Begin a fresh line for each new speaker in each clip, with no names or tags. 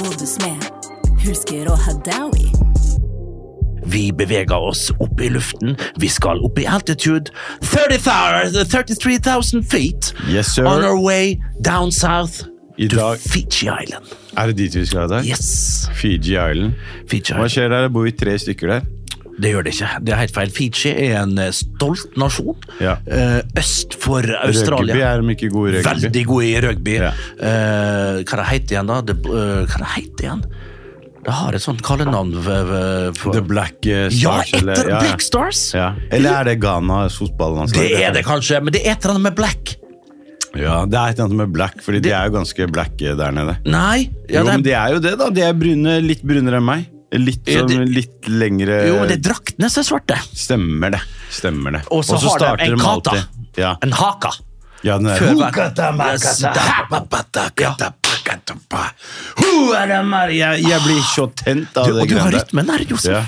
møtes med. Hulsker og Hadaoui.
Vi beveger oss opp i luften. Vi skal opp i altitude 30,000 33,000 feet
Yes, sir.
on our way down south
I
to
dag-
Fiji Island.
Er det dit vi skal i dag?
Yes!
Fiji Island.
Fiji
Hva
Island.
skjer der? Det bor vi tre stykker der.
Det gjør det ikke. Det er helt feil. Fiji er en eh, stolt nasjon
Ja.
eh, øst for
Rugby
Australia.
er de ikke gode i rugby.
Veldig gode i rugby.
Ja.
Eh, hva det heter igjen, da? Det, eh, hva det heter igjen? Det har et sånt kallenavn. v- v- for-
The Black eh,
Ja,
Stars.
etter
eller, ja,
Black Stars!
Ja. Eller er det Ghanas fotballandslag?
Det er det kanskje, men det er et eller annet med black.
Ja, det er et eller annet med black, fordi de
Det-
er jo ganske black eh, der nede.
Nei. ja,
jo,
det er-
men de er jo det, da. De er brune, litt brunere enn meg. Litt,
Ja,
sånn,
det-
litt lengre
Jo, men det er draktene som er svarte.
Stemmer det. Stemmer det.
Og så har de
starter
en kata.
alltid- Ja.
En haka.
ja, den
Før
der.
hver- Yes, da. Ja.
Jeg, jeg blir så tent av
Du,
det
og du
greiene
har
der.
rytmen der, Josef.
Ja.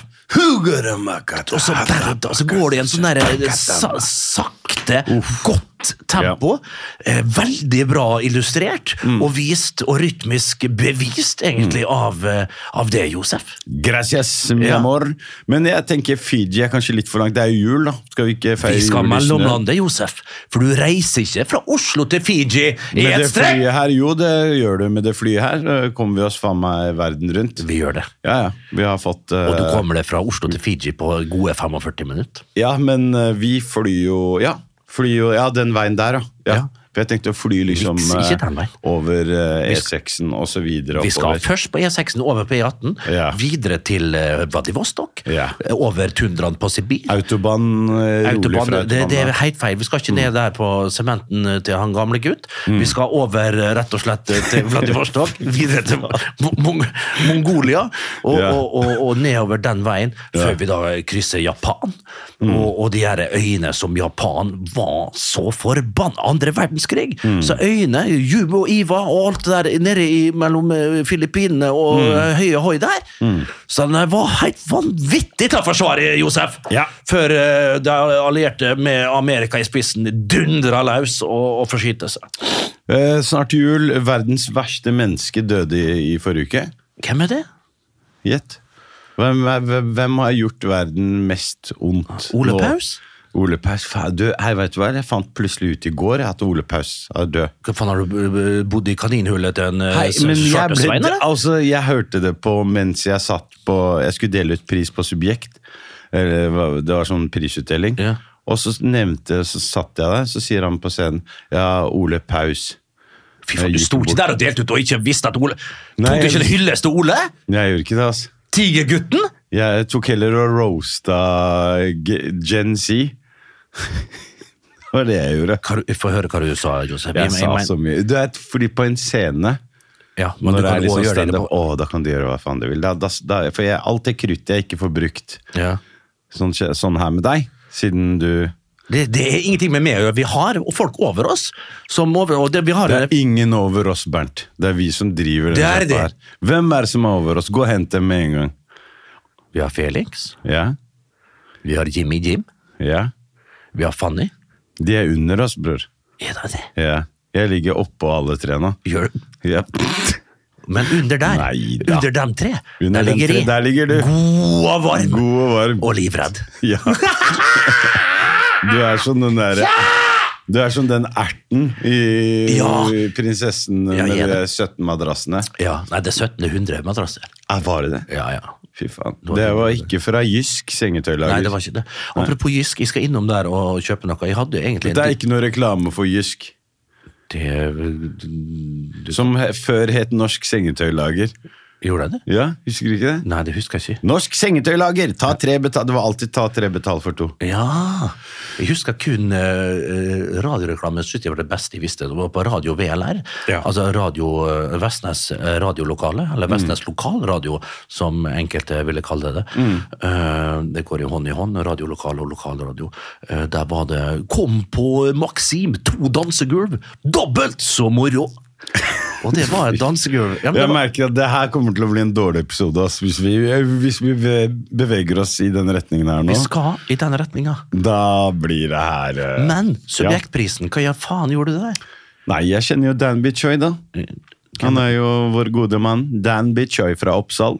Og så, bare- og så går det i en sånn der, sa, sakte, godt tempo. Eh, Veldig bra illustrert
Mm.
og vist, og rytmisk bevist, egentlig, av, eh, av det, Josef.
Gracias, mi
Ja.
amor. Men jeg tenker Fiji er kanskje litt for langt. Det er jo jul, da. Skal vi ikke feire
Vi skal
jul i snø?
mellomlande, Josef, for du reiser ikke fra Oslo til Fiji i
Med
et
det
strekk!
flyet her, jo, det gjør du med det flyet her. eh, Kommer vi oss faen meg verden rundt.
Vi gjør det.
Ja, ja. Vi har fått eh,
Og du kommer deg fra Oslo til Fiji på gode 45 minutter.
Ja, men eh, vi flyr jo Ja, flyr jo, ja den veien der, ja. ja.
Ja.
For jeg tenkte å fly liksom
Vips, ikke den
eh,
veien.
over eh, E6-en og så videre
Vi skal
oppover.
først på E6-en over på E18,
Ja.
videre til eh, Vladivostok,
Ja.
eh, over tundraen på Sibir.
Autobahn eh, rolig
Autobahn,
fra
det, det er
autobahn.
helt feil. Vi skal ikke ned der på sementen eh, til han gamle gutt.
Mm.
Vi skal over eh, rett og slett eh, til Vladivostok, videre til Mo- Mong Mongolia, og,
Ja.
og, og, og nedover den veien, før vi da krysser Japan.
Mm.
Og, og de her øyene som Japan var så forbanna Andre verdenskrig!
Mm.
Så øyene, Juba og Iva og alt det der nede i, mellom eh, Filippinene og
Mm.
eh, Høye Hoi der. Så den var helt vanvittig til å forsvare, Josef!
Ja.
Før eh, de allierte med Amerika i spissen dundra løs og, og forsynte seg.
Eh, Snart jul. Verdens verste menneske døde i, i forrige uke.
Hvem er det?
Gjett. Hvem, hvem, hvem har gjort verden mest ondt?
Ole
nå?
Paus?
Ole Ah, Paus, faen, du, hei, vet du hva? Jeg fant plutselig ut i går at Ole Paus er død. Eh,
Hva faen har du eh, bodd i kaninhullet til en eh,
Hei, men jeg, ble,
svartesvein, eller?
altså, jeg hørte det på mens jeg satt på Jeg skulle dele ut pris på Subjekt. Eller, hva- det var sånn prisutdeling.
Ja.
Og så nevnte så satt jeg der, så sier han på scenen Ja, Ole Paus.
Fy faen,
Jeg
du
gikk
sto ikke
bort.
der og delte ut og ikke visste at Ole
Nei,
Tok du
jeg-
ikke en hyllest til Ole?
Jeg gjorde ikke det, altså.
Tigergutten?
Jeg tok heller og roasta G- Gen Z. det var det jeg gjorde.
Hva du- Få høre hva du sa, Josef.
Jeg
men-
sa
men-
så mye. Du vet, fordi på en scene
ja, men
Når
du
det
kan
er
gå og
liksom
gjøre det
standup,
etterpå.
å, da kan du gjøre hva faen du vil. Da, da, da, for jeg, alt det kruttet jeg ikke får brukt
Ja.
sånn, skje- sånn her med deg, siden du
Det, det er ingenting med meg å gjøre. Vi har folk over oss som over, og det, vi har
Det er ingen over oss, Bernt. Det er vi som driver
Det er
denne gruppa
det.
Hvem er det som er over oss? Gå og hent dem med en gang.
Vi har Felix,
Ja?
vi har Jimmy Jim,
Ja?
vi har Fanny.
De er under oss, bror.
Er det det?
Ja. Jeg ligger oppå alle tre nå.
Gjør
Ja.
Men under der,
Nei da.
under dem tre,
Under
der
den
ligger
tre,
jeg.
der ligger du.
God og varm.
God og varm.
Og livredd.
Ja. Du er som den derre Du er som den erten i
Ja.
i prinsessen
Ja, jeg
med
er
de 17 madrassene.
Ja, nei, det er 1700 madrasser.
Ja, var det det?
Ja, ja.
Fy faen.
var
Det
det.
var ikke fra Jysk sengetøylager.
Nei, det var ikke det. Apropos Jysk, jeg skal innom der og kjøpe noe. Jeg hadde jo egentlig
Dette er ikke noe reklame for Jysk,
det,
som he før het Norsk Sengetøylager.
Gjorde jeg det?
Ja, husker du ikke det?
Nei, det husker jeg ikke.
Norsk Sengetøylager! Ta tre betal. Det var alltid ta tre betal for to.
Ja Jeg husker kun uh, radioreklame. Jeg synes det var det beste jeg visste. Det var på Radio VLR.
Ja.
Altså Radio eh, Vestnes eh, radiolokale, eller Vestnes lokalradio, som enkelte ville kalle det. Eh, det går i hånd i hånd, radiolokale og lokalradio. Eh, der var det 'Kom på Maxim, to dansegulv'! Dobbelt så moro! Og det var et dansegulv. Ja, men det
Jeg
var-
merker at det her kommer til å bli en dårlig episode ass, hvis vi, hvis vi be- beveger oss i den retningen her nå.
vi skal i den retninga.
Da blir det her eh,
Men subjektprisen, hva i faen gjorde du der? Eh,
Nei, jeg kjenner jo Danby Choi, da. Han er jo vår gode mann. Dan Bichøy fra Oppsal.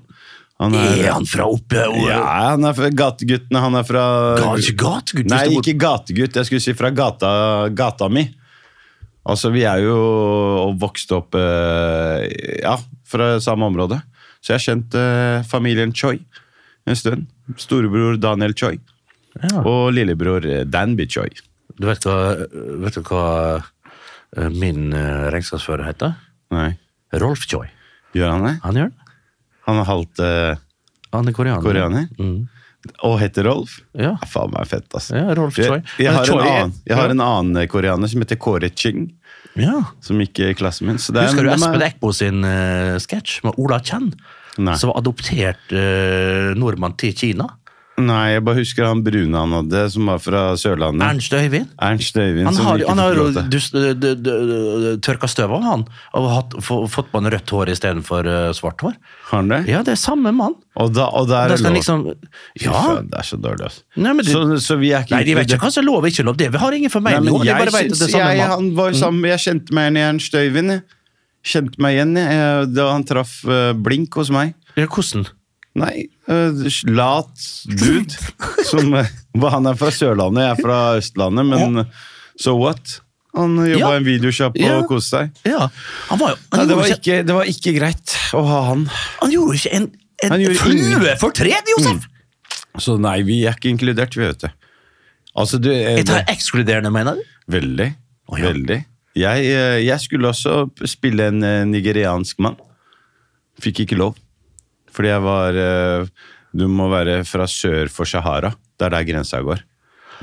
Han
Er
er,
han fra oppe?
ja, han er fra Gateguttene. Han er fra
Gat- Gategutt?
Nei,
Hvis det
ikke gategutt. Jeg skulle si fra gata, gata mi. Altså, vi er jo og vokste opp eh, ja, fra samme område. Så jeg har kjent eh, familien Choi en stund. Storebror Daniel Choi.
Ja.
Og lillebror eh, Danby Choi.
Du vet hva, vet du hva eh, min eh, regnskapsfører heter?
Nei,
Rolf Choi.
gjør han det?
Han gjør det.
Han er halvt eh,
Han er koreaner.
koreaner.
Mm.
og heter Rolf.
Ja.
Faen meg fett, altså.
Ja, Rolf Choi.
Jeg, jeg,
Men
har,
Choi
en
er-
annen, jeg har en annen eh, koreaner som heter Kåre Ching.
Ja.
Som gikk i klassen min. Så det er-
Husker du
de er-
Espen Eckbo sin uh, sketsj med Ola Chen?
Nei.
Som var adoptert eh, nordmann til Kina?
Nei, jeg bare husker han brune han hadde, som var fra Sørlandet.
Ernst Øyvind?
Ernst Øyvind,
Han
som
har,
ikke
han har
fikk
jo
lov til.
dus- d- d- d- tørka støv av, han. Og hatt, få- fått på han rødt hår istedenfor uh, svart hår.
Har han det?
Ja, det er samme mann.
Og, da, og der
Da
er
skal han
lov.
liksom
Fy
Ja.
faen, det er så dårlig, altså.
Nei, men det-
så, så vi er ikke
Nei, de vet ikke hva som er lov og ikke lov. Det vi har ingen
Nei,
formening
men
om. De bare
jeg,
vet at det
syns,
er samme Mm.
jeg,
mann.
han var sammen, jeg kjente meg igjen i Ernst Øyvind. jeg. Kjente meg igjen jeg, da han traff eh, blink hos meg.
Ja, hvordan?
Nei, øh, lat dude. Som, øh, hva, han er fra Sørlandet, jeg er fra Østlandet, men so what? Han jobba
Ja.
i en videoshop
Ja.
og koste seg.
Ja, han var jo
Nei,
Han,
det,
gjorde,
var
ikke,
ikke, det var ikke greit å ha han.
han gjorde ikke en,
Han
en
gjorde
flue
ingen- Mm,
fortred, Josef!
Så nei, vi er ikke inkludert, vi, vet du. Altså, du eh,
Jeg tar ekskluderende, mener du?
Veldig.
Å, ja.
Veldig. Jeg, eh, jeg skulle også p- spille en eh, nigeriansk mann. Fikk ikke lov. Fordi jeg var eh, Du må være fra sør for Sahara. Det er der grensa går.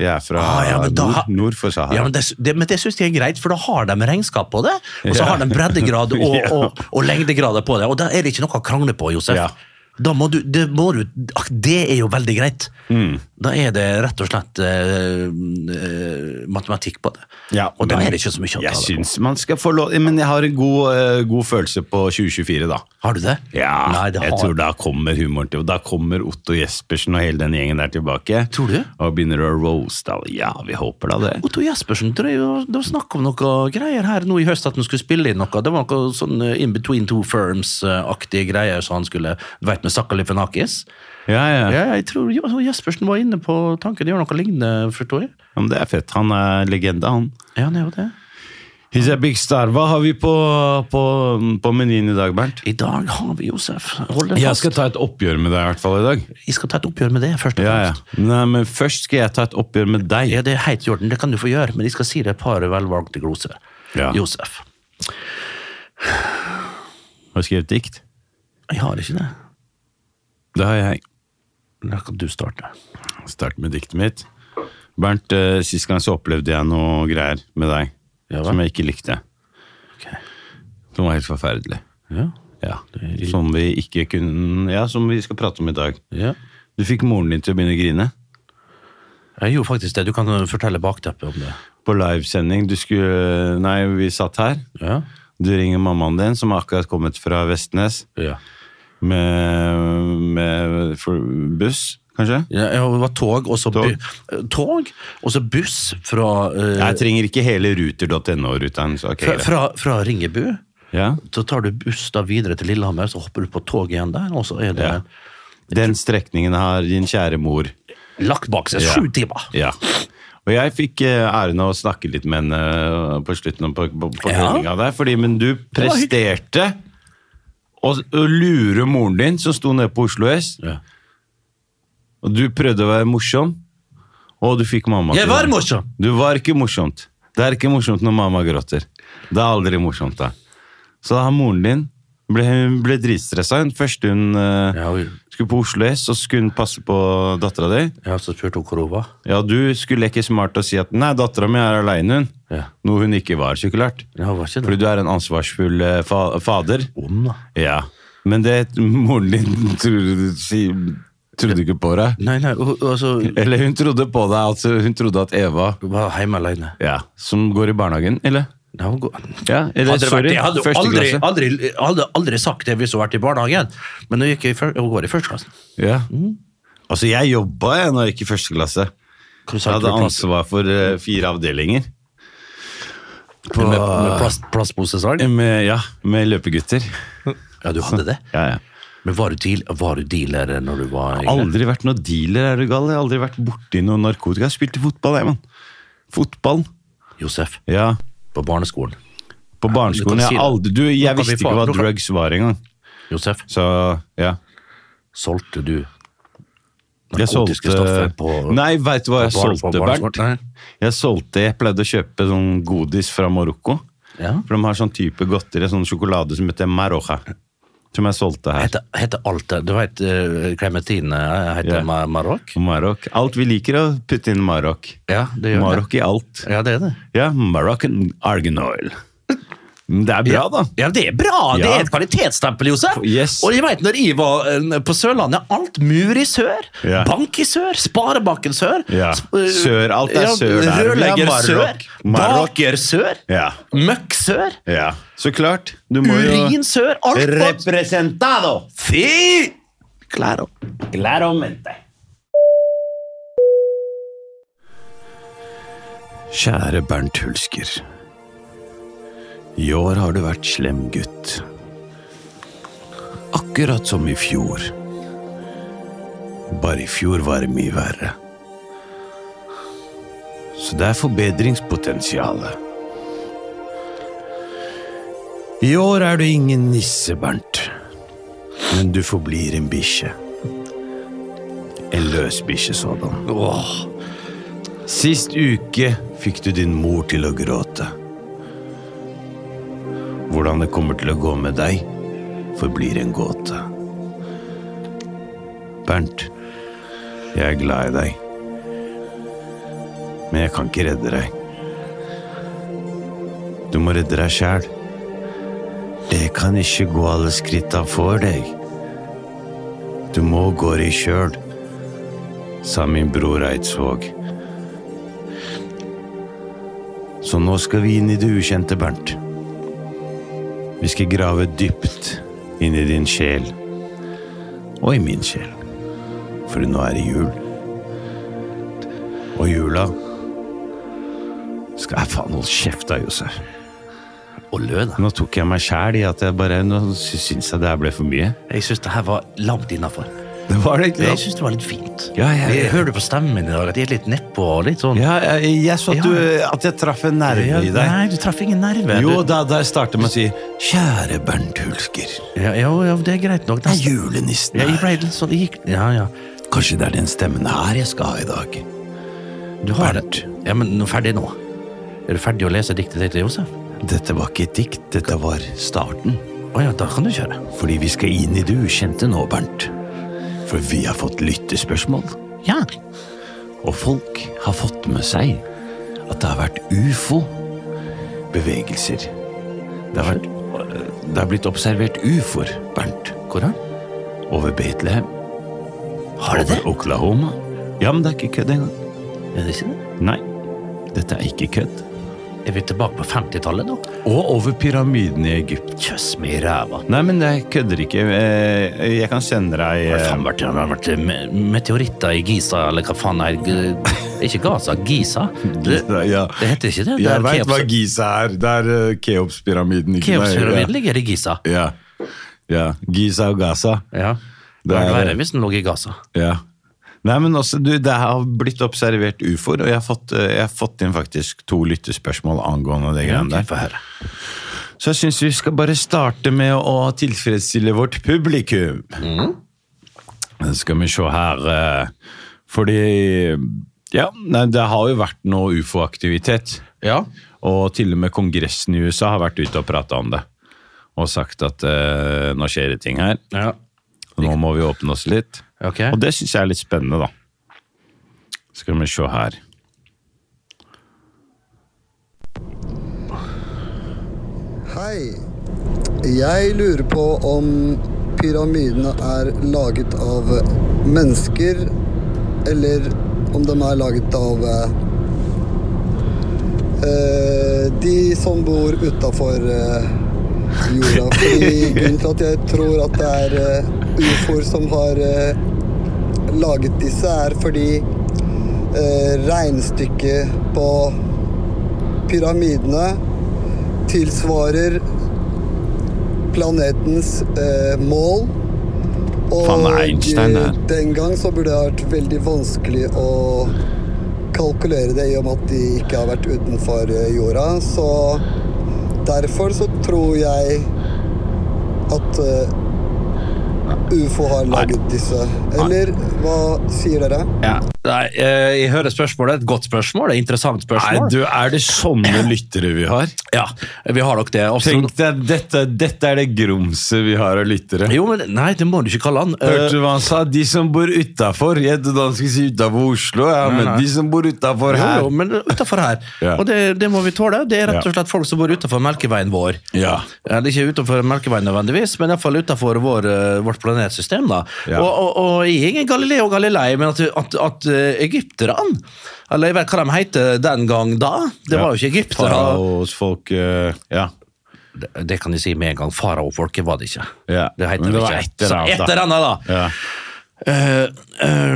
Jeg er fra
Ah, ja, men da
nord,
ha-
nord for Sahara.
Ja, men det, det, men det syns jeg er greit, for da har de regnskap på det. Og så
Ja.
har de breddegrad og,
Ja.
og, og lengdegrader på det, og da er det ikke noe å krangle på, Josef.
Ja.
Da må du, det, må du, ak- det er jo veldig greit.
Mm.
Da er det rett og slett eh, eh, matematikk på det.
Ja,
og da
men
er det ikke så mye å
jeg
ta det på.
syns man skal få lov Men jeg har en god, eh, god følelse på 2024, da.
Har du det?
Ja,
Nei, det
jeg
har-
tror da kommer humoren til Da kommer Otto Jespersen og hele den gjengen der tilbake.
Tror du?
Og begynner å roaste alle. Ja, vi håper da det.
Otto Jespersen, det var snakk om noe greier her nå i høst at han skulle spille inn noe. Det var noe sånn eh, In Between Two Firms-aktige greier så han skulle du vet, med Sakka Lifanakis.
Ja, ja.
Ja, jeg tror Jo- altså, Jespersen var inne på tanken å gjøre noe lignende, forstår jeg.
Ja, men det er fett. Han er legende, han.
Ja, han er jo det.
He's a big star. Hva har vi på, på, på menyen i dag, Bernt?
I dag har vi Josef. Hold deg
Jeg
fast.
skal ta et oppgjør med deg i hvert fall i dag.
Jeg skal ta et oppgjør med det, først og
Ja, ja.
fremst.
Nei, men først skal jeg ta et oppgjør med deg.
Ja, det er heit jorden, det kan du få gjøre, men jeg skal si deg et par velvalgte gloser.
Ja.
Josef.
Har du skrevet dikt?
Jeg har ikke det.
Det har jeg.
Da kan du starte.
Start med diktet mitt. Bernt, eh, sist gang så opplevde jeg noe greier med deg
Ja, hva?
som jeg ikke likte.
Ok.
Som var helt forferdelig.
Ja.
Ja. Som vi ikke kunne Ja, som vi skal prate om i dag.
ja.
Du fikk moren din til å begynne å grine.
Jeg gjorde faktisk det. Du kan eh, fortelle bakteppet om det.
På livesending. Du skulle Nei, vi satt her.
Ja.
Du ringer mammaen din, som har akkurat kommet fra Vestnes,
Ja.
med, med for, buss, kanskje?
Ja, ja, det var tog, og så
Tog.
bu- eh, tog, og så buss fra, eh,
Jeg trenger ikke hele ruter.no-ruteren. så ok,
fra,
greit.
fra, fra Ringebu.
Ja.
Så tar du buss da videre til Lillehammer, så hopper du på tog igjen der, og så er det
Ja. Den strekningen har din kjære mor.
lagt bak seg
Ja.
sju timer.
Ja. Og jeg fikk eh, æren av å snakke litt med henne eh, på slutten av på, på, på
Ja.
høringa der, fordi, men du
var hyggelig.
presterte å, å lure moren din, som sto nede på Oslo S,
Ja.
og du prøvde å være morsom, og du fikk mamma
Jeg
til å
var
være-
morsom!
Du var ikke morsomt. Det er ikke morsomt når mamma gråter. Det er aldri morsomt, da. Så da har moren din ble, hun ble dritstressa. Hun første hun eh,
Ja, og-
skulle på Oslo S, så skulle hun passe på dattera di.
ja, så spurte hun hvor hun var.
Ja, du skulle ikke smart å si at 'nei, dattera mi er aleine', hun.
Ja.
Noe hun ikke var, så klart.
Ja, hun var ikke
Fordi
det.
du er en ansvarsfull eh, fa fader.
Om, da.
Ja. Men det moren din trodde, si, trodde ikke på deg.
Nei, nei, hun, altså,
Eller hun trodde på deg. Altså, hun trodde at Eva,
hun var hjemme alene.
ja, som går i barnehagen, eller?
Nei, hun går...
Ja, eller,
Hadde det vært
sorry,
det, hadde hun
første
aldri,
klasse.
aldri, aldri, aldri sagt det hvis hun hadde vært i barnehagen. Men hun, gikk i, fyr- hun går i første klassen.
Ja.
Mm.
Altså, jeg jobba jeg når jeg gikk i første klasse.
Hva
Jeg
sa du
hadde
til klassen?
ansvar for eh, fire avdelinger.
Med, med plast, plastposesang?
Med, ja, med løpegutter.
Ja, du hadde det?
Ja, ja.
Men var du, deal, var du dealer når du var yngre?
Aldri vært noen dealer, er du gal? Jeg har aldri vært borti noe narkotika. Jeg spilte fotball, jeg, mann. Fotball.
Josef,
Ja.
på barneskolen.
På
du kan
barneskolen.
si
Jeg,
det.
aldri, du,
Nå
jeg
kan vi
visste
få-
ikke hva
nå kan-
drugs var engang.
Josef,
Så ja.
solgte du
Jeg
narkotiske stoffer på
Nei, veit du hva jeg
på barne- på
solgte, Bernt?
barneskolen?
Jeg solgte, jeg pleide å kjøpe sånn godis fra Marokko.
Ja.
For de har sånn type godteri, sånn sjokolade som heter Maroja. Som jeg solgte her.
Heter, heter alt det Du vet eh, Clementine eh, heter
Ja.
Ma- Marokk?
Marok. Alt vi liker å putte inn Marok.
Ja, det gjør
Marok i alt.
det. Ja, det er det.
Ja, Moroccan argan oil. Mm, Det er bra, da.
Ja, det er bra! Det
Ja.
er et kvalitetsstempel, Josef.
Yes.
Og jeg vet, når jeg var eh, på Sørlandet, alt mur i sør,
Ja.
bank i sør, sparebanken sør.
Ja.
sp- eh,
Sør, alt er sør der. Vi er
Rørlegger
Marokk.
sør,
Marokk.
baker sør,
Ja.
møkk sør,
ja. Så klart. Du må jo
urin sør, alt var
Representado!
Fy! Claro.
Claramente. Kjære Bernt Hulsker. I år har du vært slem gutt. Akkurat som i fjor. Bare i fjor var det mye verre. Så det er forbedringspotensialet. I år er du ingen nisse, Bernt. Men du forblir en bikkje. En løs bikkje sådan.
Åh,
Sist uke fikk du din mor til å gråte. Hvordan det kommer til å gå med deg, forblir en gåte. Bernt, jeg er glad i deg. Men jeg kan ikke redde deg. Du må redde deg sjæl. Det kan ikke gå alle skritta for deg. Du må gå deg sjøl, sa min bror Eidsvåg. Så nå skal vi inn i det ukjente, Bernt. Vi skal grave dypt inn i din sjel. Og i min sjel. For nå er det jul. Og jula skal jeg faen holde kjeft da, Josef.
og lø, da.
Nå tok jeg meg sjæl i at jeg bare Nå sy- syns jeg det her ble for mye.
Jeg syns det her var langt innafor.
Det var det ikke
Jeg syns det var litt fint.
Ja, jeg-
jeg hører du på stemmen min i dag at jeg er litt nedpå og litt sånn
Ja, jeg, jeg så at,
Ja.
du, at jeg traff en nerve
Ja,
i deg.
Nei, du traff ingen nerve.
Jo,
du,
da, da jeg startet med å si 'Kjære Bernt Hulsker,
ja, ja, ja, det er greit nok.
det er
Neste-
julenissen
Ja, jeg
her'.
ble litt sånn jeg gikk, Ja, ja.
Kanskje det er den stemmen her jeg skal ha i dag.
Du har
Bernt.
det. Ja, men nå- ferdig nå. Er du ferdig å lese diktet ditt, Josef?
Dette var ikke et dikt, dette var starten.
Å ja, da kan du kjøre.
Fordi vi skal inn i det ukjente nå, Bernt. For vi har fått lyttespørsmål,
Ja.
og folk har fått med seg at det har vært ufo-bevegelser. Det har, vært, det har blitt observert ufoer, Bernt,
Hvordan?
over Betlehem.
Har du det?
Over Oklahoma. Ja, men det er ikke kødd engang.
Er det ikke det?
Nei, dette er ikke kødd.
Er vi tilbake på 50-tallet nå?
Og over pyramiden i Egypt.
Kjøss meg i ræva.
Nei, men jeg kødder ikke. Eh, Jeg kan sende deg
Har det
eh,
faen vært, har det vært me- meteoritter i Giza, eller hva faen er det? Ikke Gaza, Giza. Det,
eh, ja.
det heter ikke det. det
Jeg
er
veit hva
Keops-
Giza er. Det er eh, Keopspyramiden. ikke det?
Keopspyramiden ligger i Giza.
Ja.
ja. Giza og Gaza.
Ja. Det
Det
hadde
er-
vært verre hvis den lå i Gaza.
Ja. Nei, men også, du, Det har blitt observert ufoer, og jeg har, fått, eh, jeg har fått inn faktisk to lyttespørsmål angående det greiene
Få
der.
høre.
Så jeg syns vi skal bare starte med å tilfredsstille vårt publikum.
Mm.
Skal vi se her eh, Fordi Ja, nei, det har jo vært noe ufo-aktivitet. Og til og med Kongressen i USA har vært ute og prata om det. Og sagt at eh, nå skjer det ting her.
Ja.
Nå må vi åpne oss litt.
Ok.
Og det syns jeg er litt spennende, da. Skal vi se her.
Hei. Jeg lurer på om pyramidene er laget av mennesker, eller om de er laget av eh, de som bor utafor eh, jorda. Fordi grunnen til at jeg tror at det er eh, ufoer som har eh, laget disse, er fordi eh, regnestykket på pyramidene tilsvarer planetens eh, mål. Og
Faen, det er Einstein, det her.
eh, den gang så burde det ha vært veldig vanskelig å kalkulere det i og med at de ikke har vært utenfor eh, jorda. Så derfor så tror jeg at eh, ufo har laget disse. Eller hva sier dere?
Ja. Nei, eh, jeg hører spørsmålet. Et godt spørsmål. Et interessant
Nei,
spørsmål.
du, er det sånne lyttere vi har?
Ja, vi har nok det. Også-
Tenk deg, dette, dette er det grumset vi har av lyttere.
Jo, men Nei, det må du ikke kalle han. Eh,
Hørte du hva han sa? De som bor utafor. Jeg trodde han skulle si utafor Oslo, ja, men de som bor utafor
Eh, Jo,
her.
jo, men utenfor her.
Ja.
Og det, det må vi tåle. Det er rett
Ja.
og slett folk som bor utenfor melkeveien vår.
Ja.
Eller ikke utenfor melkeveien nødvendigvis, men iallfall utenfor vår, eh, vårt planetsystem. da.
Ja.
Og, og, og jeg er ingen Galileo Galilei, men at, at, at eh, egypterne Eller jeg vet hva de heter den gang da. Det var jo ikke egyptere.
Faraosfolk eh, Ja.
Det, det kan jeg si med en gang. Faraofolket var det ikke.
Ja,
Det heter
men det
det
var
ikke.
et eller
Så
annet, da.
et eller annet, da.
ja.
Eh, eh,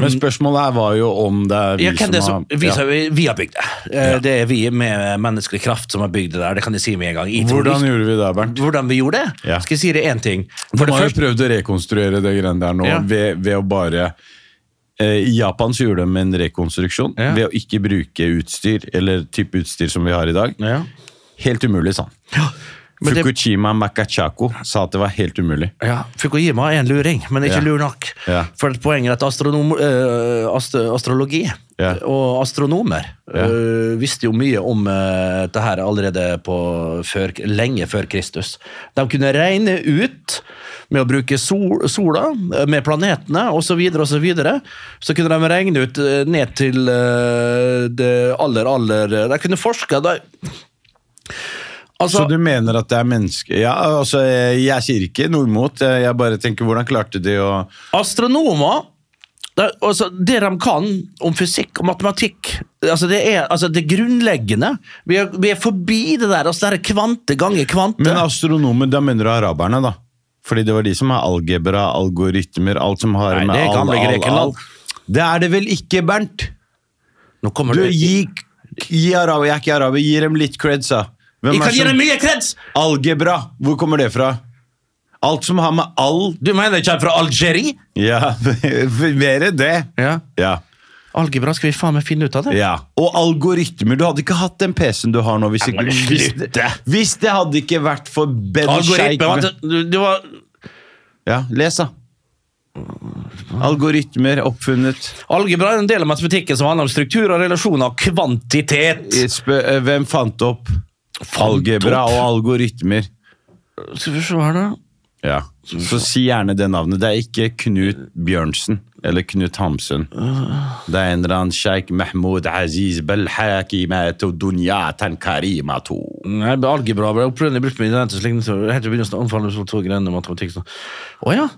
Men spørsmålet her var jo om det er vi
ja, hvem det er som,
som har ehm,
vi,
ja.
som, vi har bygd det. Eh, Det er vi med menneskelig kraft som har bygd det der. Det kan jeg si med en gang. Jeg tror
Hvordan
ikke-
gjorde vi det, Bernt?
hvordan vi gjorde det?
Ja.
Skal jeg si det én ting?
De
For det
har jo
første,
prøvd å rekonstruere det greiene der nå
Ja.
ved, ved å bare eh, I Japan så gjorde de en rekonstruksjon
Ja.
ved å ikke bruke utstyr, eller type utstyr som vi har i dag.
Ja.
Helt umulig, sa han.
men det-
Fukushima Makachako sa at det var helt umulig.
ja, Fukushima er en luring, men ikke
Ja.
lur nok.
Ja.
For at poenget er at astronom, eh, ast- astrologi
Ja.
og astronomer
Ja.
eh, visste jo mye om eh, det her allerede på før, lenge før Kristus. De kunne regne ut med å bruke sol, sola, eh, med planetene osv., så, videre, og så, videre. så kunne de regne ut eh, ned til eh, det aller, aller De kunne forske. De,
Så, du mener at det er mennesker Ja, altså, jeg, jeg sier ikke noe imot. eh, Jeg jeg bare tenker, hvordan klarte de å
Astronomer det, altså, det de kan om fysikk og matematikk altså Det er altså, det grunnleggende. Vi er, vi er forbi det der. altså Det er kvante ganger kvante.
Men astronomer, da mener du araberne, da? Fordi det var de som har algebra, algoritmer, alt som har
Nei,
med
det er
all,
gamle
all,
Grekenland.
all. Det er det vel ikke, Bernt?
Nå kommer
Du,
det-
gi, gi araber, jeg er ikke araber, gi dem litt creds, da. Hvem
Jeg
er
kan gi
som-
deg mye kreds!
Algebra, hvor kommer det fra? Alt som har med all
Du mener det kommer fra Algerie?
Ja, mer enn det.
Ja.
Ja.
Algebra skal vi faen meg finne ut av det.
ja. Og algoritmer. Du hadde ikke hatt den PC-en du har nå hvis, ikke,
men
hvis,
slutt.
det, hvis det hadde ikke vært for Ben Sheikh
Algoritme det, det var
Ja, les, da. Algoritmer oppfunnet.
Algebra er en del av matematikken som handler om struktur og relasjoner og kvantitet.
Spø- eh, Hvem fant opp algebra og algoritmer?
Skal vi se her, da.
Ja. Så si gjerne det navnet. Det er ikke Knut Bjørnsen eller Knut Hamsun. Det er en eller annen sjeik Mahmoud Aziz Belhakimatu Dunyatan Karimatu.
Nei, men Algebra ble opprinnelig brukt med identisk lignelse helt i begynnelsen av anfallet som to grener matematikk. så- Å ja.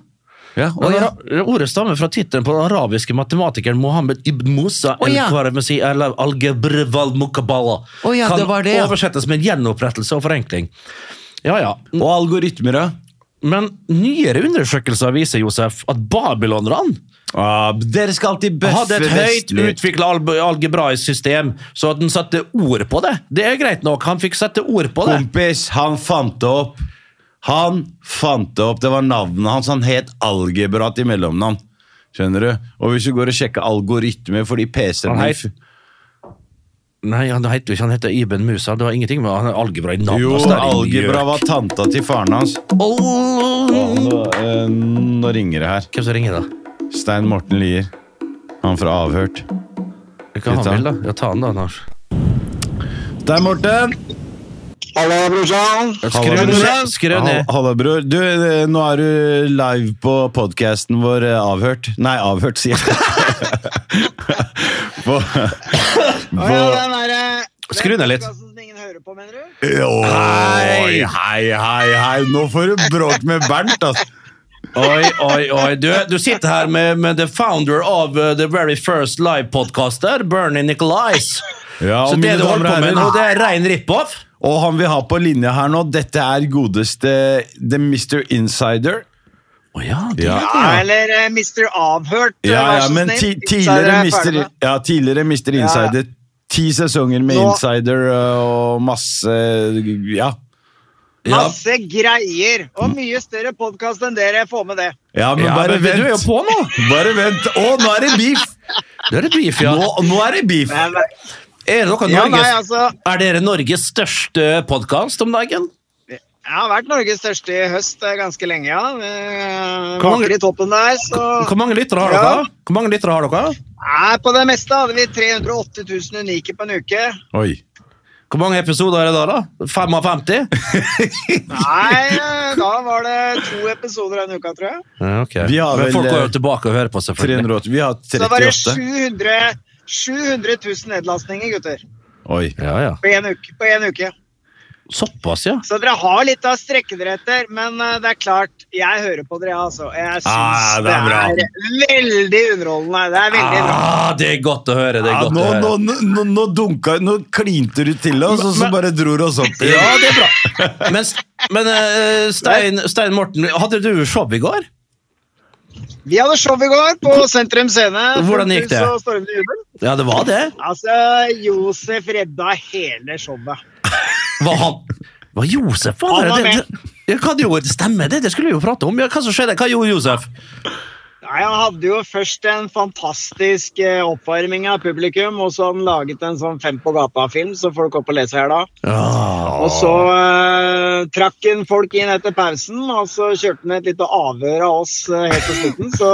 Ja,
Og ra- Ordet stammer fra tittelen på den arabiske matematikeren Mohammed ibn Musa
Å, ja.
el-Kwaremesi eller al-Gebrewal Mukabala.
Å, ja,
kan
det var det, ja.
oversettes med gjenopprettelse og forenkling. Ja, ja.
Og algoritmer, da?
Men nyere undersøkelser viser Josef, at babylonerne
Ah, dere skal alltid
hadde
bøffe
et høyt
vestlig.
utvikla algebraisk system, så at den satte ord på det. Det er greit nok, han fikk sette ord på det.
Kompis, han fant det opp. Han fant det opp. Det var navnet hans. Han het algebra til mellomnavn. Skjønner du? Og hvis du går og sjekker algoritmer fordi PC-en
Han
din-
het- Nei, han heter jo ikke, han heter Ibn Musa. Det har ingenting med han er algebra i navnet.
Jo,
altså, det er ingen
algebra
gjør.
var tanta til faren hans.
Åh,
Nå, eh, nå ringer det her.
Hvem som ringer, da?
Stein Morten Lier. Han fra Avhørt.
Hva
Skal vi ta
han vil, da?
den?
Ja, ta han da, Lars.
Stein Morten!
Hallo, brorsan.
Halla, bror.
Skru ned.
Ha- Halla, bror. Du, eh, nå er du live på podkasten vår eh, Avhørt. Nei, Avhørt, sier jeg. på,
Å ja, den derre
Skru ned litt.
Som ingen hører på, mener du?
Oi, hei, hei, hei. Nå får du bråk med Bernt, ass.
Oi, oi, oi. Du, du sitter her med, med the founder of uh, the very first live-podcaster, Bernie Nicolais.
Ja,
Så
og mine
det du holder
damer og
på med
herrer.
nå, det er rein rip-off?
Og han vi har på linja her nå, dette er godeste The Mr. Insider.
Å ja, det
Ja.
Ja, eller eh, Mr. Avhørt. eh,
Ja,
vær
ja,
så
men
snill.
ti,
Insider er
tidligere
ferdig
Mr.
med.
Ja, tidligere Mr.
ja.
Insider. øh, Ti sesonger med
Nå-
Insider ø, og masse øh, Ja. Ja.
Masse greier. Og mye større podkast enn dere. Få med det.
Ja, men
Ja,
bare
men
vent.
du er jo på nå.
Bare vent. Å, nå er det beef!
Det er det beef, ja.
Nå, nå er det beef!
Men, eh,
Er, dere
ja, nei,
Norges,
altså.
er dere Norges største podkast om dagen?
Jeg har vært Norges største i høst eh, ganske lenge, ja. Eh,
Hvor mange-
Vaker i toppen der, så
Hvor mange lyttere har
Ja.
dere? Hvor mange lyttere har dere?
Nei, På det meste hadde vi 380 000 unike på en uke.
Oi.
Hvor mange episoder er det da? da? 55?
Nei, eh, da var det to episoder den uka, tror jeg.
Ja, ok.
Vi har
Men
vel,
folk går
eh,
jo tilbake og hører på, selvfølgelig.
380. Vi har
Så var det
38.
700, 700 000 nedlastninger, gutter.
Oi.
Ja, ja.
På én uke, på en uke.
Såpass, ja.
Så dere har litt å strekke dere etter, men eh, det er klart, jeg hører på dere, altså. Jeg syns
Ah, det
det,
er bra.
er veldig underholdende. Det er veldig bra.
Ah, det er godt å høre. det er
Ja,
godt
nå,
å høre.
nå, nå, nå dunka Nå klinte du til oss, og så
Men-
bare dro du oss opp.
Ja, det er bra. Men, men eh, Stein, Stein Morten, hadde du show i går?
Vi hadde show i går på Sentrum Scene.
Hvordan gikk det?
Fokus og Stormende jubel.
Ja, det var det.
Altså, Josef redda hele showet.
Var han Var Josef var
Han var
det?
med.
det, det ja, hva, det jo, stemmer det, det skulle vi jo prate om. Ja, hva som skjedde? Hva gjorde Josef?
Nei, Han hadde jo først en fantastisk eh, oppvarming av publikum, og så har han laget en sånn Fem på gata-film, så folk opp og leser her da.
Ja,
Og så eh, trakk han folk inn etter pausen, og så kjørte han et lite avhør av oss eh, helt til slutten, så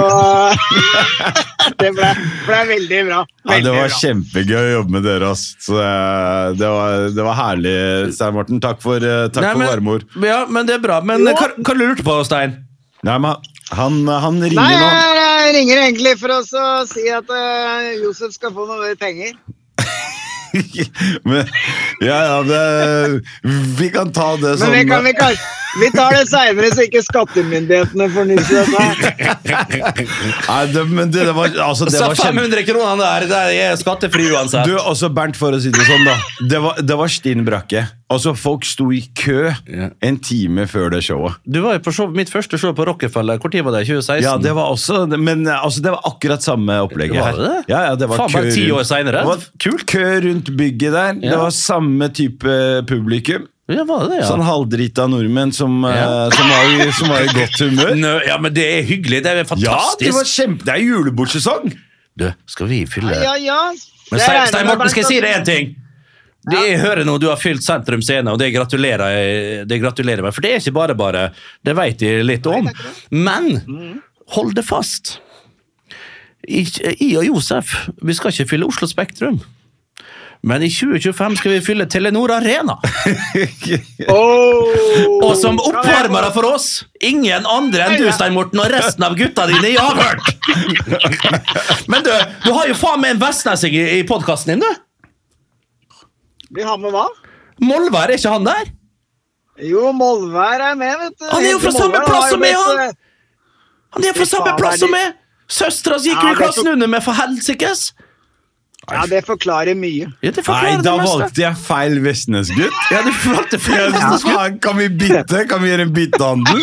eh, Det ble, ble veldig bra.
Ja, det
Veldig
var
bra.
kjempegøy å jobbe med dere. ass. Så, eh, det, var, det var herlig, Stein Morten. Takk for, eh, takk
Nei,
for
men-
varme ord.
ja, men det er bra. Men eh, hva, hva lurte du på, Stein?
Nei, men han, han ringer
Nei,
nå.
jeg, jeg ringer egentlig for å så si at eh, Josef skal få noe mer penger.
Men, ja, ja, men, eh, vi kan ta det som
Men vi, kan, vi, kan, vi tar det seinere, så ikke skattemyndighetene fornyer dette.
Nei, det, men det, det var, altså, det
Så
var kjempe...
500 kroner der, der er skattefri uansett.
Du, også Bernt, for å si det sånn, da. Det var, det var stinn brakke. Altså, folk sto i kø
Ja.
en time før det showet.
Du var jo på show, mitt første show på Rockefeller. Når var det? 2016?
Ja, det var også Men altså, det var akkurat samme opplegget
Var
her.
det det?
Ja, ja, det var
Faen,
kø
bare ti
rundt-
år senere.
Det var Kult. Kø rundt bygget der.
Ja.
Det var samme type publikum.
Ja, var det, ja.
Sånn halvdrita nordmenn som,
Ja.
eh, som, var, i- som var i godt humør.
Nø, ja, men det er hyggelig. Det er jo
Ja,
fantastisk.
det var kjempe... Det er julebordsesong!
Du, skal vi fylle
Ja, ja. sånn-
Men
Jeg
Stein,
regner
Stein
med
Morten,
Bernt
skal jeg
at-
si deg én ting? Det jeg hører nå, Du har fylt Sentrum Scene, og det gratulerer jeg det gratulerer jeg med. For det er ikke bare bare. Det vet jeg litt om.
Mm.
Men hold det fast. I, I og Josef, vi skal ikke fylle Oslo Spektrum. Men i 2025 skal vi fylle Telenor Arena.
Åh!
Oh.
Og som oppvarmere for oss, ingen andre enn du, Stein Morten, og resten av gutta dine i avhørt! Men du, du har jo faen meg en vestnessing i, i podkasten din, du!
Vi har med hva?
Molvær, er ikke han der?
Jo, Molvær er med, vet du.
Han er jo fra
Hilde
samme
Molvær
plass
har jo
som meg,
blitt, eh,
han! Han er fra
Fy
samme
faen,
plass
er de-
som meg! Søstera si gikk
Ja,
jo i
det er
klassen under med, for helsikes!
eh, Ja, det forklarer mye.
Ja, det
Nei,
forklarer det
da
meste.
valgte jeg feil Vestnes-gutt.
Ja, du valgte
Ja,
feil.
faen, Kan vi bytte? Kan vi gjøre en byttehandel?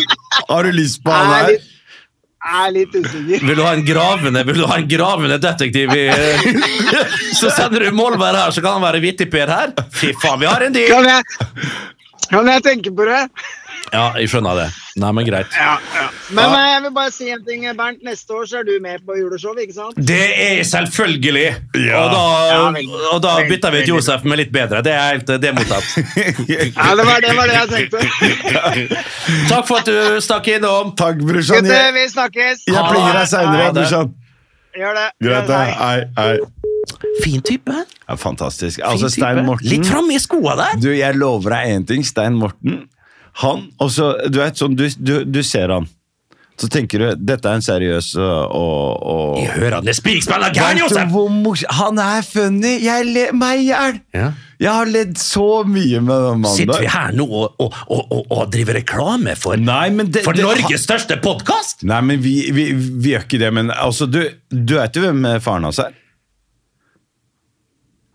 Har du lyst på han
Jeg er
her?
litt, jeg er litt usikker.
Vil du ha en gravende Vil du ha en gravende detektiv i Så sender du Molvær her, så kan han være vittigper her. Fy faen, vi har en deal!
Kan jeg, kan jeg tenke på det?
Ja, jeg skjønner det. Nei, men greit.
Ja, ja. Men eh, jeg vil bare si en ting, Bernt. Neste år så er du med på juleshow, ikke sant?
Det er selvfølgelig! Og,
Ja,
da,
veldig.
og da
Veldig,
bytter vi ut
veldig bra.
Josef med litt bedre. Det er helt det er mottatt.
Ja, det var det, var det jeg tenkte.
Takk for at du stakk innom.
Takk, brorsan.
Gutter,
Jeg,
vi snakkes.
jeg
Ha
plinger
det.
deg seinere,
Ha det.
brorsan.
Gjør det.
Greit, da. Hei, hei.
Fin type.
Ja, fantastisk.
Fin
Altså, Stein
type.
Morten
Litt framme i skoa der.
Du, jeg lover deg én ting. Stein Morten, han også, Du vet sånn, du, du, du ser han. Så tenker du dette er en seriøs øh, og,
Jeg
og
hører han er spikspennende gæren,
Vet du
Josef!
hvor mors- Han er funny! Jeg le meg i hjel!
Ja.
Jeg har ledd så mye med den mannen
Sitter vi
der.
her nå og, og, og, og, og driver reklame for,
Nei, men det,
for
det,
Norges største podkast?
Nei, men vi, vi, vi gjør ikke det. Men altså, du, du vet jo hvem eh, faren hans er?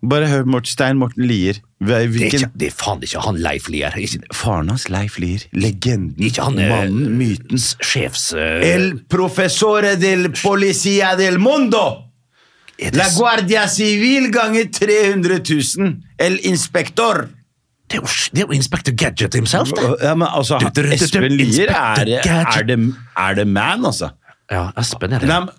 Bare hør Mort, Stein Morten Lier. Hve-
Det, er
Hvilken
ikke- det er faen ikke han Leif Lier. Ikke,
Faren hans, Leif Lier. Legenden.
ikke han eh,
mannen, myten.
Sjefs... eh,
El professore del policia del mondo!
er det
La
s-
guardia civil ganger 300 000. El inspektor.
Det er jo, det er jo Inspector Gadget himself, det.
Ja, men altså,
Du, du, du, du,
Espen Lier er,
Inspector
er,
Gadget.
det, er det man, altså?
Ja, Espen er det.
Nei, men-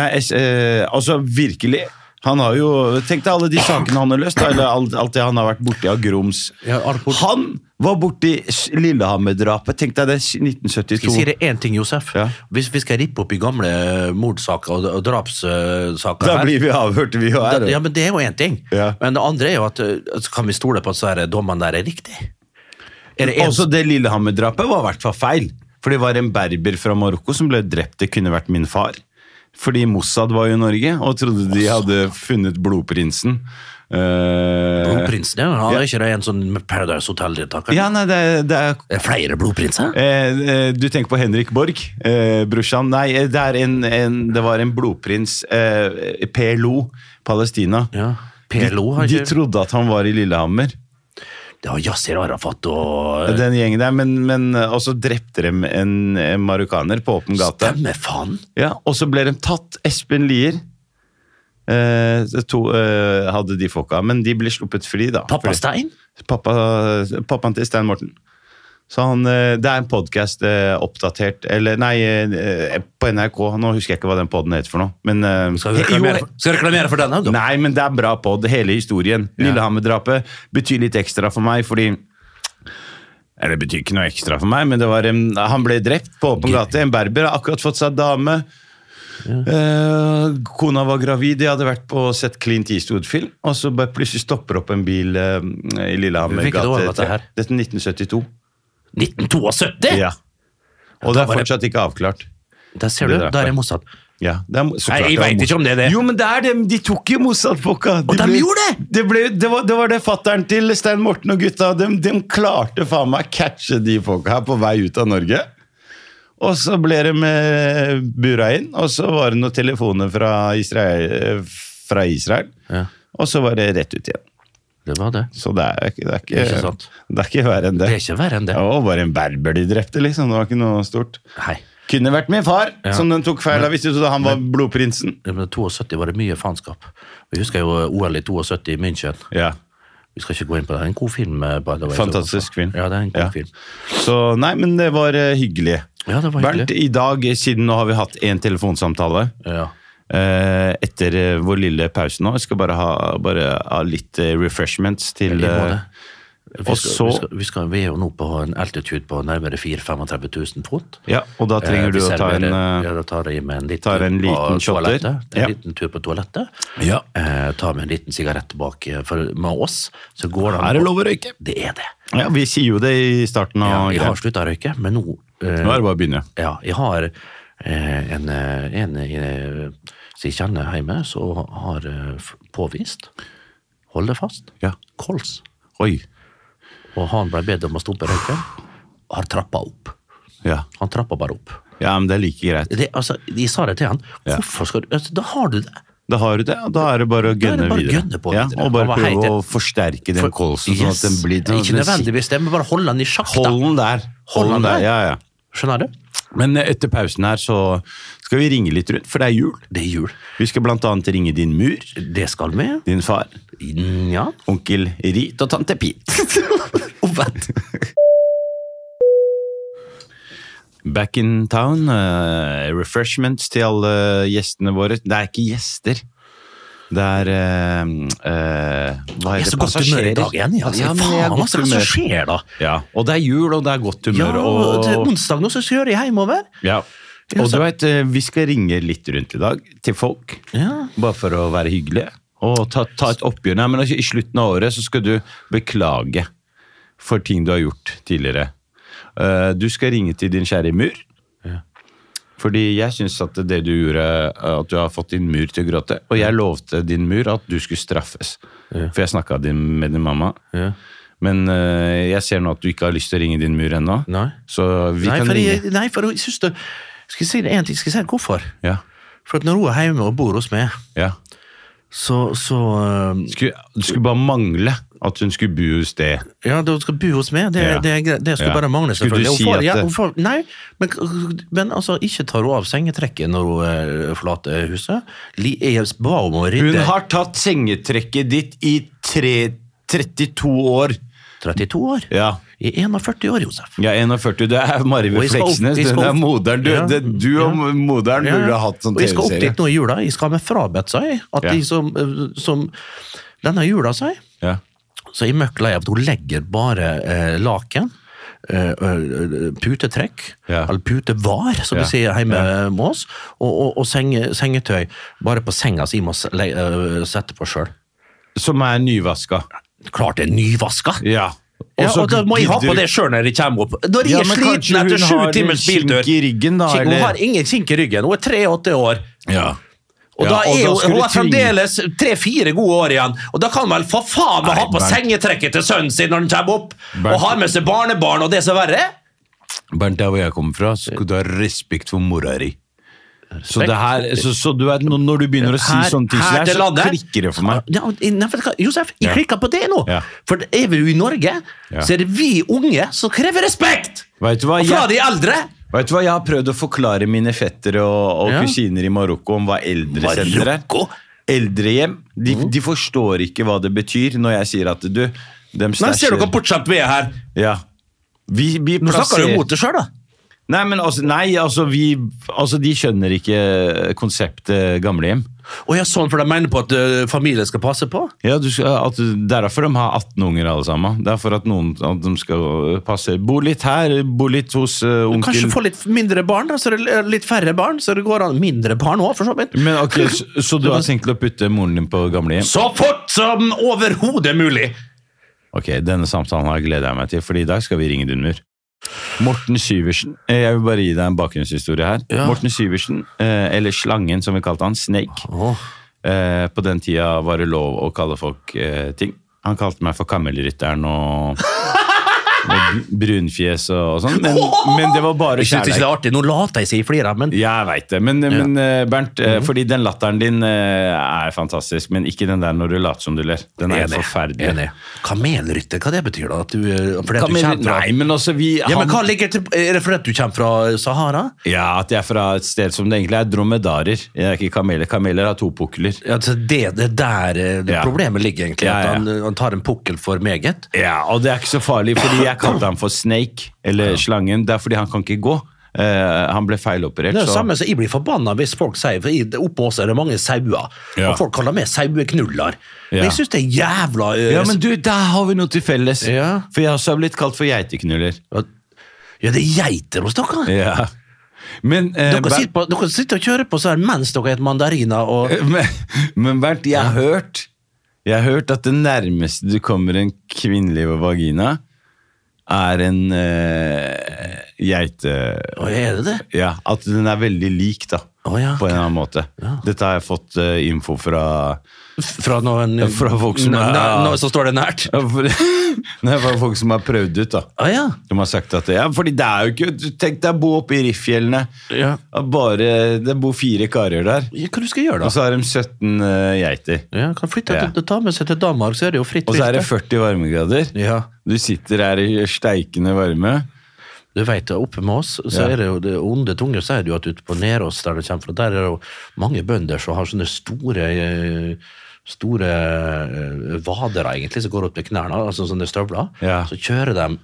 nei es- eh, altså virkelig. Han har jo, Tenk deg alle de sakene han har løst, da, eller alt, alt det han har vært borti av grums.
Ja, alt bort-
Han var borti s- Lillehammer-drapet. Tenk deg det, s-
Skal jeg si
1972.
deg én ting, Josef?
Ja.
Hvis vi skal rippe opp i gamle mordsaker og, og drapssaker
Da
her,
blir vi avhørt, vi òg.
da- ja, men Det er jo én ting.
Ja.
Men det andre er jo at eh, altså, kan vi stole på at så er det dommene der er riktig? Er det en,
Også det Lillehammer-drapet var i hvert fall feil. For det var en berber fra Marokko som ble drept. Det kunne vært min far. Fordi Mossad var jo i Norge og trodde de hadde funnet blodprinsen. Eh,
blodprinsen? Ja, han er ikke det en sånn Paradise Hotel-deltaker?
ja, nei, det, er- det er
Er det flere blodprinser?
Eh, eh, du tenker på Henrik Borg, eh, brorsan. Nei, eh, det, er en, en, det var en blodprins, eh, PLO, Palestina.
Ja. PLO har
De
ikke
trodde at han var i Lillehammer,
Det var Yasir Arafat og
den gjengen der. Men, men eh, og så drepte de en, en marokkaner på åpen gate.
Stemmer faen!
Ja, og så ble de tatt. Espen Lier. Eh, to, eh, hadde de folka, men de ble sluppet fri, da.
Pappa
Fordi-
Stein?
pappa, pappaen til Stein Morten. Så han, eh, det er en podkast oppdatert Eller nei, eh, på NRK. Nå husker jeg ikke hva den poden het for noe. Men, eh,
Skal jeg
jo,
reklamere, for- skal jeg reklamere for denne? da?
Nei, men det er en bra pod, hele historien. Lillehammer-drapet betyr litt ekstra for meg, fordi eller Det betyr ikke noe ekstra for meg, men det var en, han ble drept på åpen gate. En berber har akkurat fått seg dame. Eh, kona var gravid, de hadde vært på og sett Clint Eastwood-film. Og så bare plutselig stopper opp en bil eh, i Lillehammer
Hvilket år var dette her?
Dette er 1972.
1972!
Ja. Og det
Da var
er
det-
fortsatt ikke avklart.
Der ser du,
Det er
der er Mossad.
Ja, det er, så
Nei,
klart
jeg
var
vet
Mossad.
ikke om det er det.
Jo, men det er dem! De tok jo Mossad-folka!
Og de
ble-
gjorde det!
Det, ble, det, var, det var det fatteren til Stein Morten og gutta. De, de klarte faen meg å catche de folka her på vei ut av Norge. Og så ble de eh, bura inn, og så var det noen telefoner fra Israel. eh, Fra Israel.
Ja.
Og så var det rett ut igjen.
Det var det.
Så det er, ikke- det er, ikke,
Ikke sant.
det er ikke verre enn det.
Det er ikke verre enn det.
Det var bare en berber de drepte, liksom. Det var ikke noe stort.
Nei.
Kunne vært min far,
Ja.
som den tok feil av hvis de trodde han var blodprinsen.
Ja, Men 72 var det mye faenskap. Vi husker jo eh, OL i 72 i München.
Ja.
Vi skal ikke gå inn på det. Det er en god film. eh, by the way.
Fantastisk film.
Ja, det er en god
Ja.
film.
Så nei, men det var eh, hyggelig.
Ja, det var
Bernt,
hyggelig.
i dag, eh, siden nå har vi hatt én telefonsamtale
Ja.
eh, etter eh, vår lille pause nå. Jeg skal bare ha, bare ha litt eh, refreshments til
I
eh,
måte. Vi
Og
skal,
så-
vi, skal, vi, skal, vi er jo nå på en altitude på nærmere 4-35 000 fot.
Ja, og da trenger
Eh,
du
vi
å ta en
serverer-
eh,
ja, da tar jeg med en liten,
tar en
tur på
liten shotter.
toalettet. En
Ja.
liten tur på toalettet.
Ja.
Eh, tar med en liten sigarett bak eh, for, med oss. Så går det an
Er det
å-
lov å røyke? Ah,
Det er det.
Ja, vi sier jo det i starten av
Ja, jeg har
greia.
slutta å røyke, men nå eh,
Nå er det bare å begynne.
Ja, jeg har eh, en, eh, en eh, som jeg kjenner hjemme, som har eh, f- påvist Hold det fast.
Ja.
Kols.
Oi.
Og han ble bedt om å stoppe røyken. Har trappa opp.
Ja.
Han trappa bare opp.
ja, men det er like greit.
Det, altså, jeg sa det til han.
Ja.
Hvorfor skal du altså, Da har du det.
Da har du det, og da er det bare å
Da er det
gønne
bare å
videre.
gønne på
ja,
videre.
og
Og
bare
hva
prøve
heter-
å forsterke den kolsen, sånn
Yes.
at den blir
Ikke nødvendigvis det, men bare holde han i sjakk, da.
Hold den der.
Hold
Hold den
den
der,
der.
ja, ja.
Skjønner du?
Men etter pausen her så skal vi ringe litt rundt, for det er jul.
Det er jul.
Vi skal blant annet ringe din mur,
Det skal vi.
din far,
Ja.
onkel Rit og tante Pete.
Og vent.
Back in town, eh, refreshments til alle gjestene våre. Det er ikke gjester. Det er eh, eh, Hva
Jeg er
heter
så
det?
godt humør i dag igjen. jeg, Altså,
Ja, men jeg er
faen,
godt
altså, hva som
humør.
skjer da?
Ja, og det er jul, og det er godt
Ja,
humør.
det er
og...
onsdag nå, så kjører jeg hjemover.
Ja. Og du vet, eh, vi skal ringe litt rundt i dag til folk,
Ja.
bare for å være hyggelige. Og ta, ta et oppgjør. Nei, men altså, I slutten av året så skal du beklage for ting du har gjort tidligere. Eh, Du skal ringe til din kjære mur. Fordi jeg syns at det du gjorde, eh, at du har fått din mur til å gråte. Og jeg lovte din mur at du skulle straffes. For jeg snakka med din mamma.
Ja.
Men eh, jeg ser nå at du ikke har lyst til å ringe din mur ennå.
Nei.
Så vi
Nei,
kan
for jeg,
ringe.
nei, for jeg synes det Skal jeg si det en ting? Skal jeg si hvorfor?
Ja.
For at når hun er hjemme og bor hos meg,
ja.
så, så øh,
skulle, det skulle bare mangle at hun skulle bo hos det.
Ja, da hun skal bo hos meg, det,
Ja.
det, er greit. det skulle
Ja.
bare mangle.
Skulle du
selvfølgelig. Hun
si
får-
at
ja,
det-
hun får, Nei, men, men altså, ikke tar hun av sengetrekket når hun øh, forlater huset. Li- Jeg ba om å
Hun
rydde
har tatt sengetrekket ditt i tre, 32 år.
32 år.
Ja.
I 41 år, Josef.
Jeg er 41, det er Marve
Og vi skal opp-
Fleksnes.
vi
Det
skal
er
opp-
moderen. Du,
Ja.
det, du og
Ja.
moderen burde ha hatt sånn
Vi skal opp dit
TV-serie.
nå i jula. Jeg skal ha meg frabedt seg at
Ja.
de som, eh, som Denne jula, sier
Ja.
Så jeg er møkk lei av at hun legger bare eh, laken, eh, eh, putetrekk,
Ja.
eller putevar, som
Ja.
vi sier hjemme med oss, og, og, og senge, sengetøy bare på senga som jeg må se- le- eh, sette på sjøl.
Som er nyvaska.
Klart det er nyvaska!
Ja.
Ja,
så
og da må jeg ha
gidder
på
du-
det sjøl når jeg kommer opp. Når jeg
Ja,
er
men
sliten
kanskje hun
etter sju
har en
timers
kink
biltur.
i ryggen da,
Kink- Hun
eller?
har ingen kink i ryggen. Hun er 83 år.
Ja.
Og
Ja,
da
og
er
da
hun,
skulle
hun har
tvinge-
fremdeles tre-fire gode år igjen, og da kan hun vel for faen meg ha på
Bernt.
sengetrekket til sønnen sin når han kommer opp,
Bernt.
og har med seg barnebarn og det som verre er.
Bernt, der hvor jeg kommer fra, så skal du ha respekt for mora di. Så, det her, så, så du vet, når- når du begynner å si sånne ting, så,
her
her,
til
så
landet.
klikker det for meg.
Ja, og- nei, vet du hva, Josef, jeg
Ja.
klikker på det nå.
Ja.
For er vi jo i Norge,
Ja.
så er det vi unge som krever respekt
Vet du hva?
fra
Jeg,
de eldre.
vet du hva? jeg har prøvd å forklare mine fettere og, og
Ja.
kusiner i Marokko om hva eldresenter er.
Marokko? Mm.
Eldrehjem. De, de forstår ikke hva det betyr når jeg sier at du dem
Nei, ser du
stasjer-
hvor bortskjemt vi er her?
Ja. Vi, vi
Nå snakker du
plasserer-
mot det sjøl, da.
Nei, men altså, nei, altså, vi, altså de skjønner ikke konseptet gamlehjem.
Å ja, sånn, for de mener på at ø, familien skal passe på?
Ja, du skal, at, Det er derfor de har 18 unger, alle sammen. Det er for at noen at de skal øh, passe. Bo litt her, bo litt hos eh, onkel
Kanskje få litt mindre barn, da, så det er litt færre barn, så det går an mindre barn òg, for så vidt.
Men ok, så, så du har tenkt å putte moren din på gamlehjem?
Så fort som overhodet mulig!
Ok, denne samtalen har gleder jeg meg til, for i dag skal vi ringe Dunmur. Morten Syversen, eh, jeg vil bare gi deg en bakgrunnshistorie her.
Ja.
Morten Syversen, eh, eller Slangen som vi kalte han, Snake. Eh, på den tida var det lov å kalle folk eh, ting. Han kalte meg for Kamelrytteren og, og br- Brunfjes og, og sånn. Men, men det var bare
Jeg synes ikke det
kjærlighet.
er artig. Nå later jeg som jeg flirer, men
Jeg veit det. Men, men eh, Bernt, eh,
Mhm.
fordi den latteren din eh, er fantastisk, men ikke den der når du later som du ler. Den er
Enig,
forferdelig.
enig. Kamelrytter, hva det betyr da? At du, ø, fordi at du
Kamel,
kommer fra
nei, men altså, vi
ja, men
han-
hva ligger til, Er det fordi at du kommer fra Sahara?
Ja, at jeg er fra et sted som det egentlig er dromedarer. Jeg er ikke kameler. Kameler har to pukler.
Altså, det det er der ø, det
Ja.
problemet ligger, egentlig.
Ja, ja.
At han, ø, han tar en pukkel for meget.
Ja, Og det er ikke så farlig, fordi jeg kalte ham for Snake, eller Slangen. Det er fordi han kan ikke gå. Eh, han ble feiloperert.
Det er det
så-
samme som jeg blir forbanna hvis folk sier For i- oppå oss er det mange sauer,
Ja.
og folk kaller meg saueknuller.
Ja.
Men jeg syns det er jævla øh, ø,
Ja, men du, der har vi noe til felles!
Ja.
For jeg også har blitt kalt for geiteknuller.
Ja, det er geiter hos dere!
Ja. Eh, Men, eh,
Dere
Ber-
sitter, på, dere sitter og kjører på sånn mens dere spiser mandariner og
men, men Bernt, jeg har hørt Jeg har hørt at det nærmeste du kommer en kvinnelig vagina, er en eh, geite...
Å, er det det?
Ja, At den er veldig lik, da.
Å, ja,
På en
ok.
eller annen måte. Dette har jeg fått eh, info fra
Fra noen
Eh, Fra folk som
Nå-
er-
nå- nå- som står det nært?
Nei, fra folk som har prøvd ut, da.
Å ja.
De har sagt at ja, fordi det er jo ikke du- Tenk deg å bo oppe i Riffjellene.
Ja.
At Bare, det bor fire karer der.
Ja, Hva du skal gjøre,
Og
da?
så har de 17 eh, geiter.
Ja, kan flytte
Ja.
til, Ta med seg til Danmark, så er det jo fritt
Og så er det
vilt,
40 varmegrader.
da. ja.
Du sitter her i steikende varme.
Du vet, Oppe med oss så
Ja.
er det jo det onde tunge sier det jo at ute på Nerås, der det kommer fra, der er det jo mange bønder som har sånne store eh, Store eh, vadere, egentlig, som går opp til knærne, altså sånne støvler.
Ja.
Så kjører de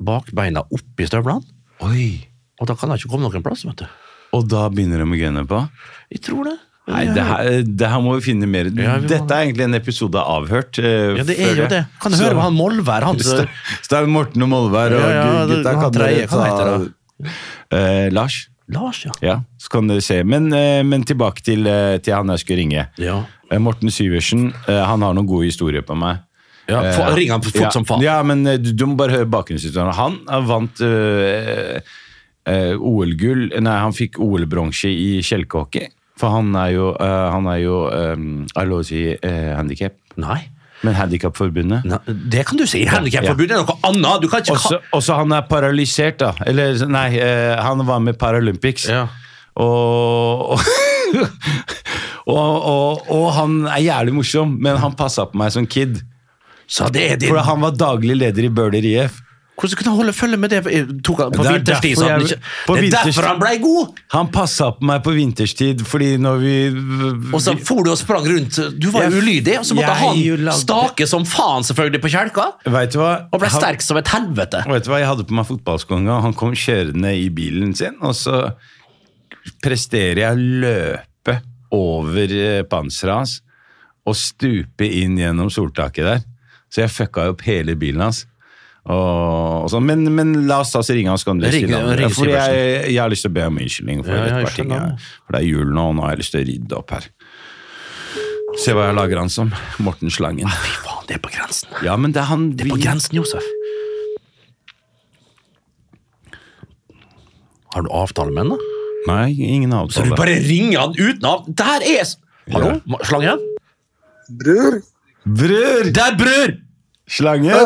bakbeina opp i støvlene,
Oi!
og da kan de ikke komme noen plass, vet du.
Og da begynner de å gunne på.
Jeg tror det.
Nei, det her, det her må vi finne mer
Ja, vi må
Dette er egentlig en episode av avhørt. eh,
Ja, det er
føler
jo
jeg.
det. Kan du
Så-
høre hva han Molvær, han
Så
som
så det er Morten og Molvær og
Ja, ja, det-
gutta.
han
Kan
tredje,
dere
hva
ta
heter
Eh, Lars?
Lars, ja.
Ja, så kan dere se. Men, eh, men tilbake til, eh, til han jeg skulle ringe.
Ja.
Eh, Morten Syversen. eh, han har noen gode historier på meg.
Ja,
Eh,
få- ring han fort
ja.
som faen.
Ja, men eh, du, du må bare høre bakgrunnshistorien. Han eh, vant eh, eh, OL-gull Nei, han fikk OL-bronse i kjelkehockey. For han er jo, eh, han er jo eh, er lov å si eh, handikap.
Nei.
Men Handikapforbundet.
Nei, det kan du si. Handikapforbudet er noe annet. Du kan ikke
Også, også han er paralysert, da. Eller nei, eh, han var med i Paralympics.
Ja.
Og, og, og, og, og han er jævlig morsom, men han passa på meg som kid.
Så det er din
For han var daglig leder i Bøhler IF.
Hvordan kunne han holde følge med det tok han på
Det er
vinterstid?
derfor
så Han
jeg-
ikke,
på
det er
vinterstid-
derfor han blei god!
Han passa på meg på vinterstid, fordi når vi
Og så for du og sprang rundt. Du var
Jeg-
jo ulydig, og så måtte
jeg jo
han
lagde-
stake som faen selvfølgelig på kjelka.
Vet du hva?
Og ble
Han-
sterk som et helvete.
Og Vet du hva, Jeg hadde på meg fotballsko en gang. Han kom kjørende i bilen sin, og så presterer jeg å løpe over eh, panseret hans og stupe inn gjennom soltaket der. Så jeg fucka jo opp hele bilen hans. Og, og sånn. men, men la oss ta oss ringe han, så kan du
Ring-
si navnet.
ring
Fordi jeg,
Sivertsen.
jeg har lyst til å be om unnskyldning for
Ja,
et
jeg
par ting.
skjønner
jeg-
det.
For det er jul nå, og nå har jeg lyst til å rydde opp her. Se hva jeg lager han som. Morten Slangen.
Fy faen, det er på grensen.
Ja, men det er han
Det er på
vi-
grensen, Josef. Har du avtale med henne?
Nei, ingen avtale.
Så du bare ringer han uten av... Det her er s- Hallo, Ma- Slangen?
Bror,
Bror!
Der, bror!
Slange!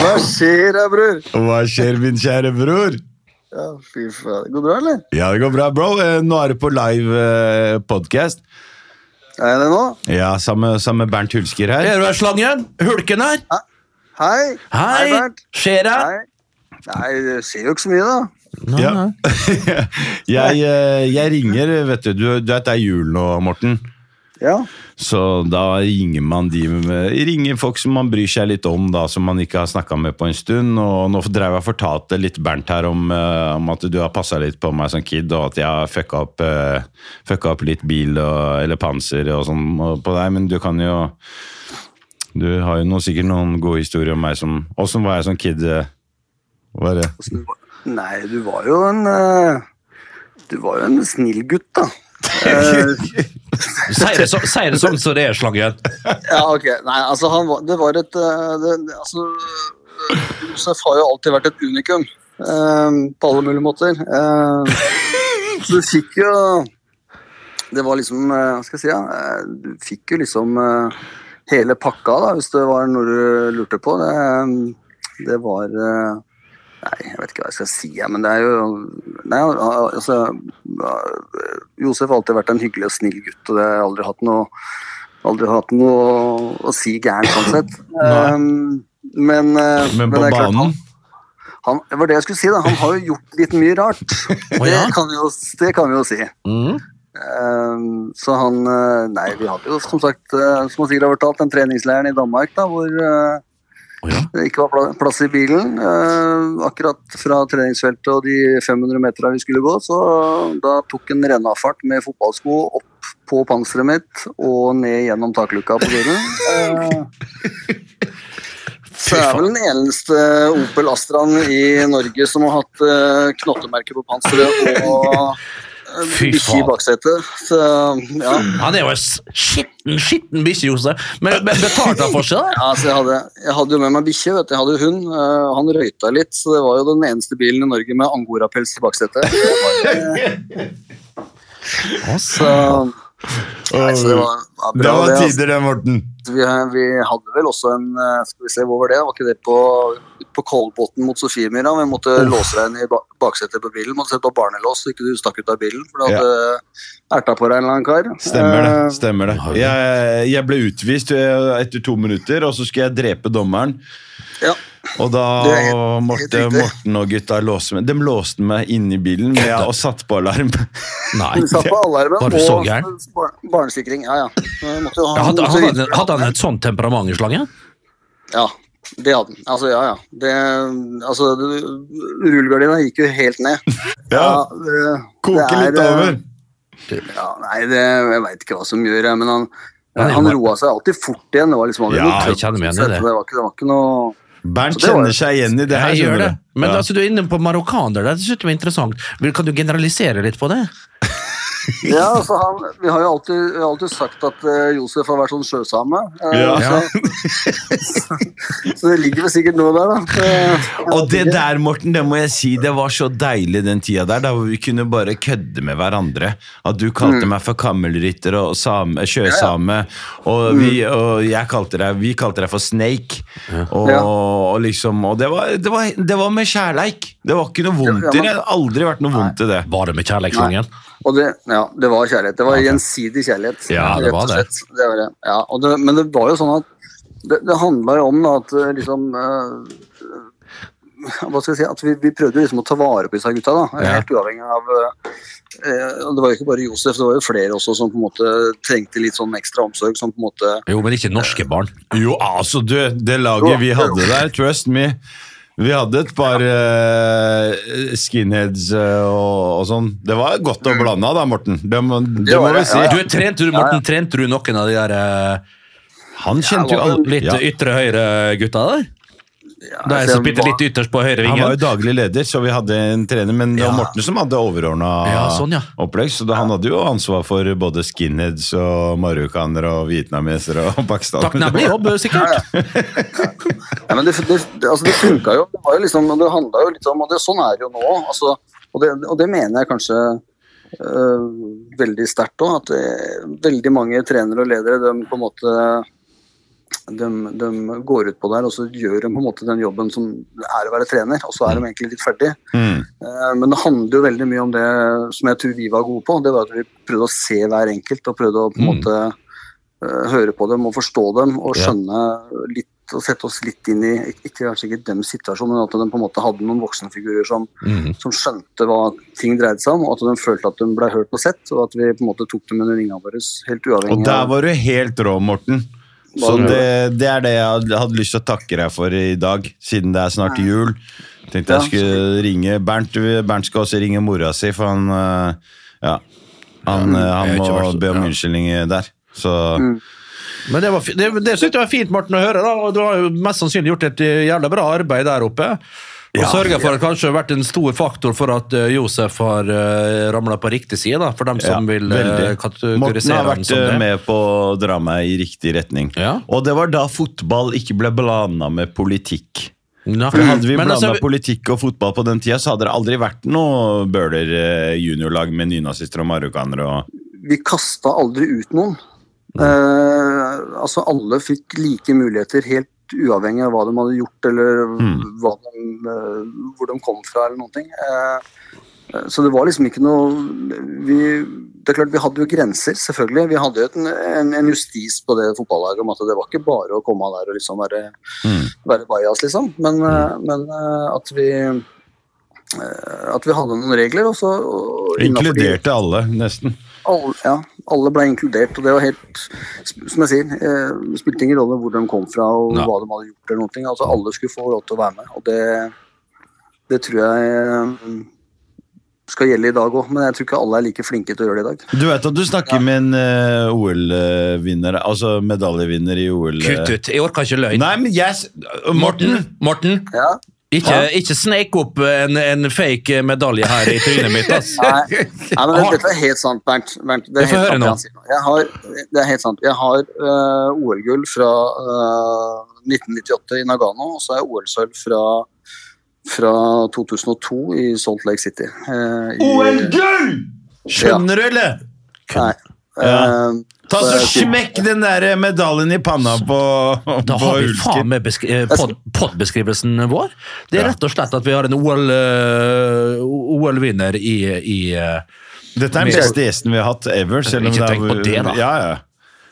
hva skjer da, bror?
Hva skjer, min kjære bror?
Ja, fy faen. Går det bra, eller?
Ja, det går bra, bro. Eh, Nå er du på live eh, podcast.
Er jeg det nå?
Ja, sammen sammen med Bernt Hulsker her.
Er du her, Slangen? Hulken her?
Hei.
Hei!
Bernt.
Skjer det?
Hei. Nei, det skjer jo ikke så mye, da.
Nei,
Ja.
nei.
Jeg, eh, jeg ringer, vet du. Du, du vet det er jul nå, Morten.
Ja.
Så da ringer man de med, ringer folk som man bryr seg litt om, da, som man ikke har snakka med på en stund. Og nå drev jeg og fortalte litt Bernt her om, eh, om at du har passa litt på meg som kid, og at jeg har fucka opp, eh, fucka opp litt bil og, eller panser og sånn og- på deg, men du kan jo Du har jo noe, sikkert noen gode historier om meg som Åssen var jeg som kid? eh, Var det?
Nei, du var jo en eh, Du var jo en snill gutt, da. Eh,
Si det, så, si det sånn som det er, Slangen.
ja, ok. Nei, altså, han var Det var et eh, det, det- Altså, eh, Josef har jo alltid vært et unikum. eh, på alle mulige måter. Eh, så du fikk jo Det var liksom eh, Hva skal jeg si, ja? eh, Du fikk jo liksom eh, hele pakka, da, hvis det var noe du lurte på. Det, eh, det var eh, Nei, jeg vet ikke hva jeg skal si, jeg, men det er jo Nei, al- altså eh, Josef har alltid vært en hyggelig og snill gutt, og det har jeg aldri hatt noe Aldri hatt noe å, å si gærent, sånn sett. Eh, men, eh,
Men på
det er klart,
banen?
han, det var det jeg skulle si, da. Han har jo gjort litt mye rart. Det
ja?
kan vi jo, det kan vi jo si.
Mm.
Ehm, så han eh, Nei, vi hadde jo som sagt, eh, som han sikkert har fortalt, den treningsleiren i Danmark da, hvor eh, det ikke var pla- plass i bilen. Eh, akkurat fra treningsfeltet og de 500 meterne vi skulle gå, så da tok en rennafart med fotballsko opp på panseret mitt og ned gjennom takluka på bilen. Eh, så er vel den eneste Opel Astraen i Norge som har hatt eh, knottemerke på panseret og eh,
Fy
bikkje i
faen.
baksetet. Så ja.
Han er jo en s- skitten, skitten bikkje, Josef. Men, men betalte han for seg? da?
ja altså jeg, hadde, jeg hadde jo med meg bikkje, vet du. Jeg hadde jo hund. eh, han røyta litt, så det var jo den eneste bilen i Norge med angorapels i baksetet. Så, nei, så det var, ja, bra,
Det var
altså.
tider, det, Morten.
Vi, eh, vi hadde vel også en eh, Skal vi se, hvor var det? Var ikke det på, på Kolbotn mot Sofiemyra? Vi måtte låse deg inn i ba- baksetet på bilen. Måtte sette på barnelås så ikke du stakk ut av bilen. For du
Ja.
hadde erta på deg en eller annen kar.
Stemmer det.
Eh,
stemmer det. Jeg, jeg ble utvist eh, etter to minutter, og så skulle jeg drepe dommeren.
Ja.
Og da
Det er helt-
måtte
helt riktig.
Morten og gutta låse meg De låste meg inne i bilen men jeg, og satte på alarm.
Nei.
Du satt på alarmen
Var
og
du så gæren?
bar- barnesikring. Ja, ja. Men Måtte, jo ha-
Ja, Hadde,
måtte
hadde,
vite-
hadde han et sånt temperament i slangen?
Ja, det hadde den. Altså, ja, ja. Det, altså, det- rullegardina gikk jo helt ned.
Ja,
det- det
Koke
er,
litt
eh,
over.
Ja, nei, det, jeg veit ikke hva som gjør det, men han,
Ja, det
han
var-
roa seg alltid fort igjen. Det var liksom aldri
Ja,
noe
jeg
trøbbel,
kjenner meg igjen i
så
det.
Det var ikke, det var ikke noe Så
Bernt
det var-
kjenner seg igjen i det her.
Jeg gjør
skjønner
det.
du.
Men
Ja.
altså, du er inne på marokkaner. Det er dessuten interessant. Vil- Kan du generalisere litt på det?
Ja, altså han, Vi har jo alltid, vi har alltid sagt at eh, Josef har vært sånn sjøsame. eh,
Ja.
Så, så det ligger vel sikkert noe der, da. Eh,
Og det der, Morten, det må jeg si, det var så deilig den tida der, da hvor vi kunne bare kødde med hverandre. At du
Mm.
kalte meg for kammelrytter og same, sjøsame,
Mm.
og, vi, og jeg kalte deg, vi kalte deg for snake. Og,
Ja.
og liksom, og det var, det, var, det var med kjærleik. Det var ikke noe vondt i det. Det har aldri vært noe vondt i det.
Var det med kjærleiksslangen?
Og det, ja, det var kjærlighet. Det var gjensidig kjærlighet.
Ja, det
rett
var
og
det.
slett. det, var det. Ja, og det men det var jo sånn at det, det handla jo om da, at eh, liksom eh, hva skal jeg si, at vi, vi prøvde jo liksom å ta vare på disse gutta. da, Helt uavhengig av eh, og Det var jo ikke bare Josef, det var jo flere også som på en måte trengte litt sånn ekstra omsorg. som på en måte
Jo, men ikke norske barn.
Jo, altså, du, det laget
Jo,
vi
jo.
hadde der, trust me. Vi hadde et par eh, skinheads eh, og, og sånn. Det var godt og blanda da, Morten. Det må, det
var
må vi
det,
si.
Mm. ja,
Du, trente du, Morten, trente du noen av de der eh,
Han kjente jo
Ja,
alle
litt
ja.
ytre høyre-gutta der?
ja,
Da jeg
altså,
som spilte
hva-
litt ytterst på høyre
Han var jo
vingen?
daglig leder, så vi hadde en trener, men det var
Ja.
Morten som hadde overordna
Ja, sånn, ja.
opplegg. Så da, han hadde jo ansvar for både skinheads og marokkanere og vietnamesere og
Takknemlig
pakistanere.
jobb, sikkert.
Nei, men det, det, det, altså, det funka jo. Det, var jo liksom, det handla jo litt om Og det, sånn er det jo nå. Altså, og, det, og det mener jeg kanskje øh, veldig sterkt òg. At det, veldig mange trenere og ledere de på en måte de, de går ut på der og så gjør de på en måte den jobben som er å være trener, og så er de egentlig litt ferdig.
Mm.
Eh, Men det handler jo veldig mye om det som jeg tror vi var gode på. Det var at vi prøvde å se hver enkelt og prøvde å på en
Mm.
måte eh, høre på dem og forstå dem og skjønne litt og sette oss litt inn i ikke kanskje ikke deres situasjon, men at de på en måte hadde noen voksenfigurer som,
Mm.
som skjønte hva ting dreide seg om, og at de følte at de ble hørt og sett, og at vi på en måte tok dem under ringene våre helt uavhengig
Og der var du helt rå, Morten. Så
Var du
det, det er det jeg hadde- hadde lyst til å takke deg for i dag, siden det er snart jul. Tenkte jeg
Ja.
skulle ringe Bernt. Bernt skal også ringe mora si, for han øh, Ja. Han, øh, han
jeg har ikke
må
vært så-
be om
ja.
unnskyldning der. Så
Men det, var fi- det, det synes jeg var fint, Morten, å høre. da, og Du har jo mest sannsynlig gjort et eh, jævla bra arbeid der oppe. Og sørga for at kanskje har vært en stor faktor for at eh, Josef har uh, ramla på riktig side, da, for dem som
Ja,
vil eh,
veldig. Morten
kategorisere
har
ham
vært
som
eh,
det.
med på å dra meg i riktig retning.
Ja.
Og det var da fotball ikke ble blanda med politikk.
Ja.
For hadde vi
Men
blanda
altså,
politikk og fotball på den tida, så hadde det aldri vært noe Bøhler eh, juniorlag med nynazister og marokkanere. Og...
vi kasta aldri ut noen. Eh, altså alle fikk like muligheter, helt uavhengig av hva de hadde gjort eller hva de, eh, hvor de kom fra eller noen ting. Eh, eh, så det var liksom ikke noe vi, Det er klart vi hadde jo grenser, selvfølgelig. Vi hadde jo et- en, en justis på det fotballaget om at det var ikke bare å komme der og liksom være, være bajas, liksom. Men, eh, men eh, at vi eh, at vi hadde noen regler. Også, og innenfor de-
Inkluderte alle, nesten.
alle, ja, alle ble inkludert, og det var helt Som jeg sier, eh, spilte ingen rolle hvor de kom fra og hva de hadde gjort. eller noen ting, altså Alle skulle få lov til å være med, og det, det tror jeg eh, skal gjelde i dag òg. Men jeg tror ikke alle er like flinke til å gjøre det i dag.
Du vet at du snakker med en eh, OL-vinner, altså medaljevinner i OL. eh.
Kutt ut! Jeg orker ikke løgn.
Nei, men jeg s-
Morten, Morten,
Ja,
ikke, ikke sneik opp en, en fake medalje her i trynet mitt, ass.
Nei, nei men
Har-
dette er helt sant, Bernt. Bernt det, er
Jeg får
helt
høre
sant,
nå.
det han sier nå. Jeg har, det er helt sant. Jeg har eh, OL-gull fra eh, 1998 i Nagano, og så er jeg OL-sølv fra, fra 2002 i Salt Lake City. Eh, i-
OL-gull! Skjønner du, eller?
Nei.
Ja.
Eh,
Ta så
jeg sier-
Smekk den der eh, medaljen i panna på,
Da
på
har vi faen
Ulsken.
med besk- eh, pod podbeskrivelsen vår. Det er rett og slett at vi har en OL-vinner i, i eh,
Dette er den beste gjesten vi har hatt ever. Selv om
Ikke
det er,
tenk på det, da.
Ja, ja.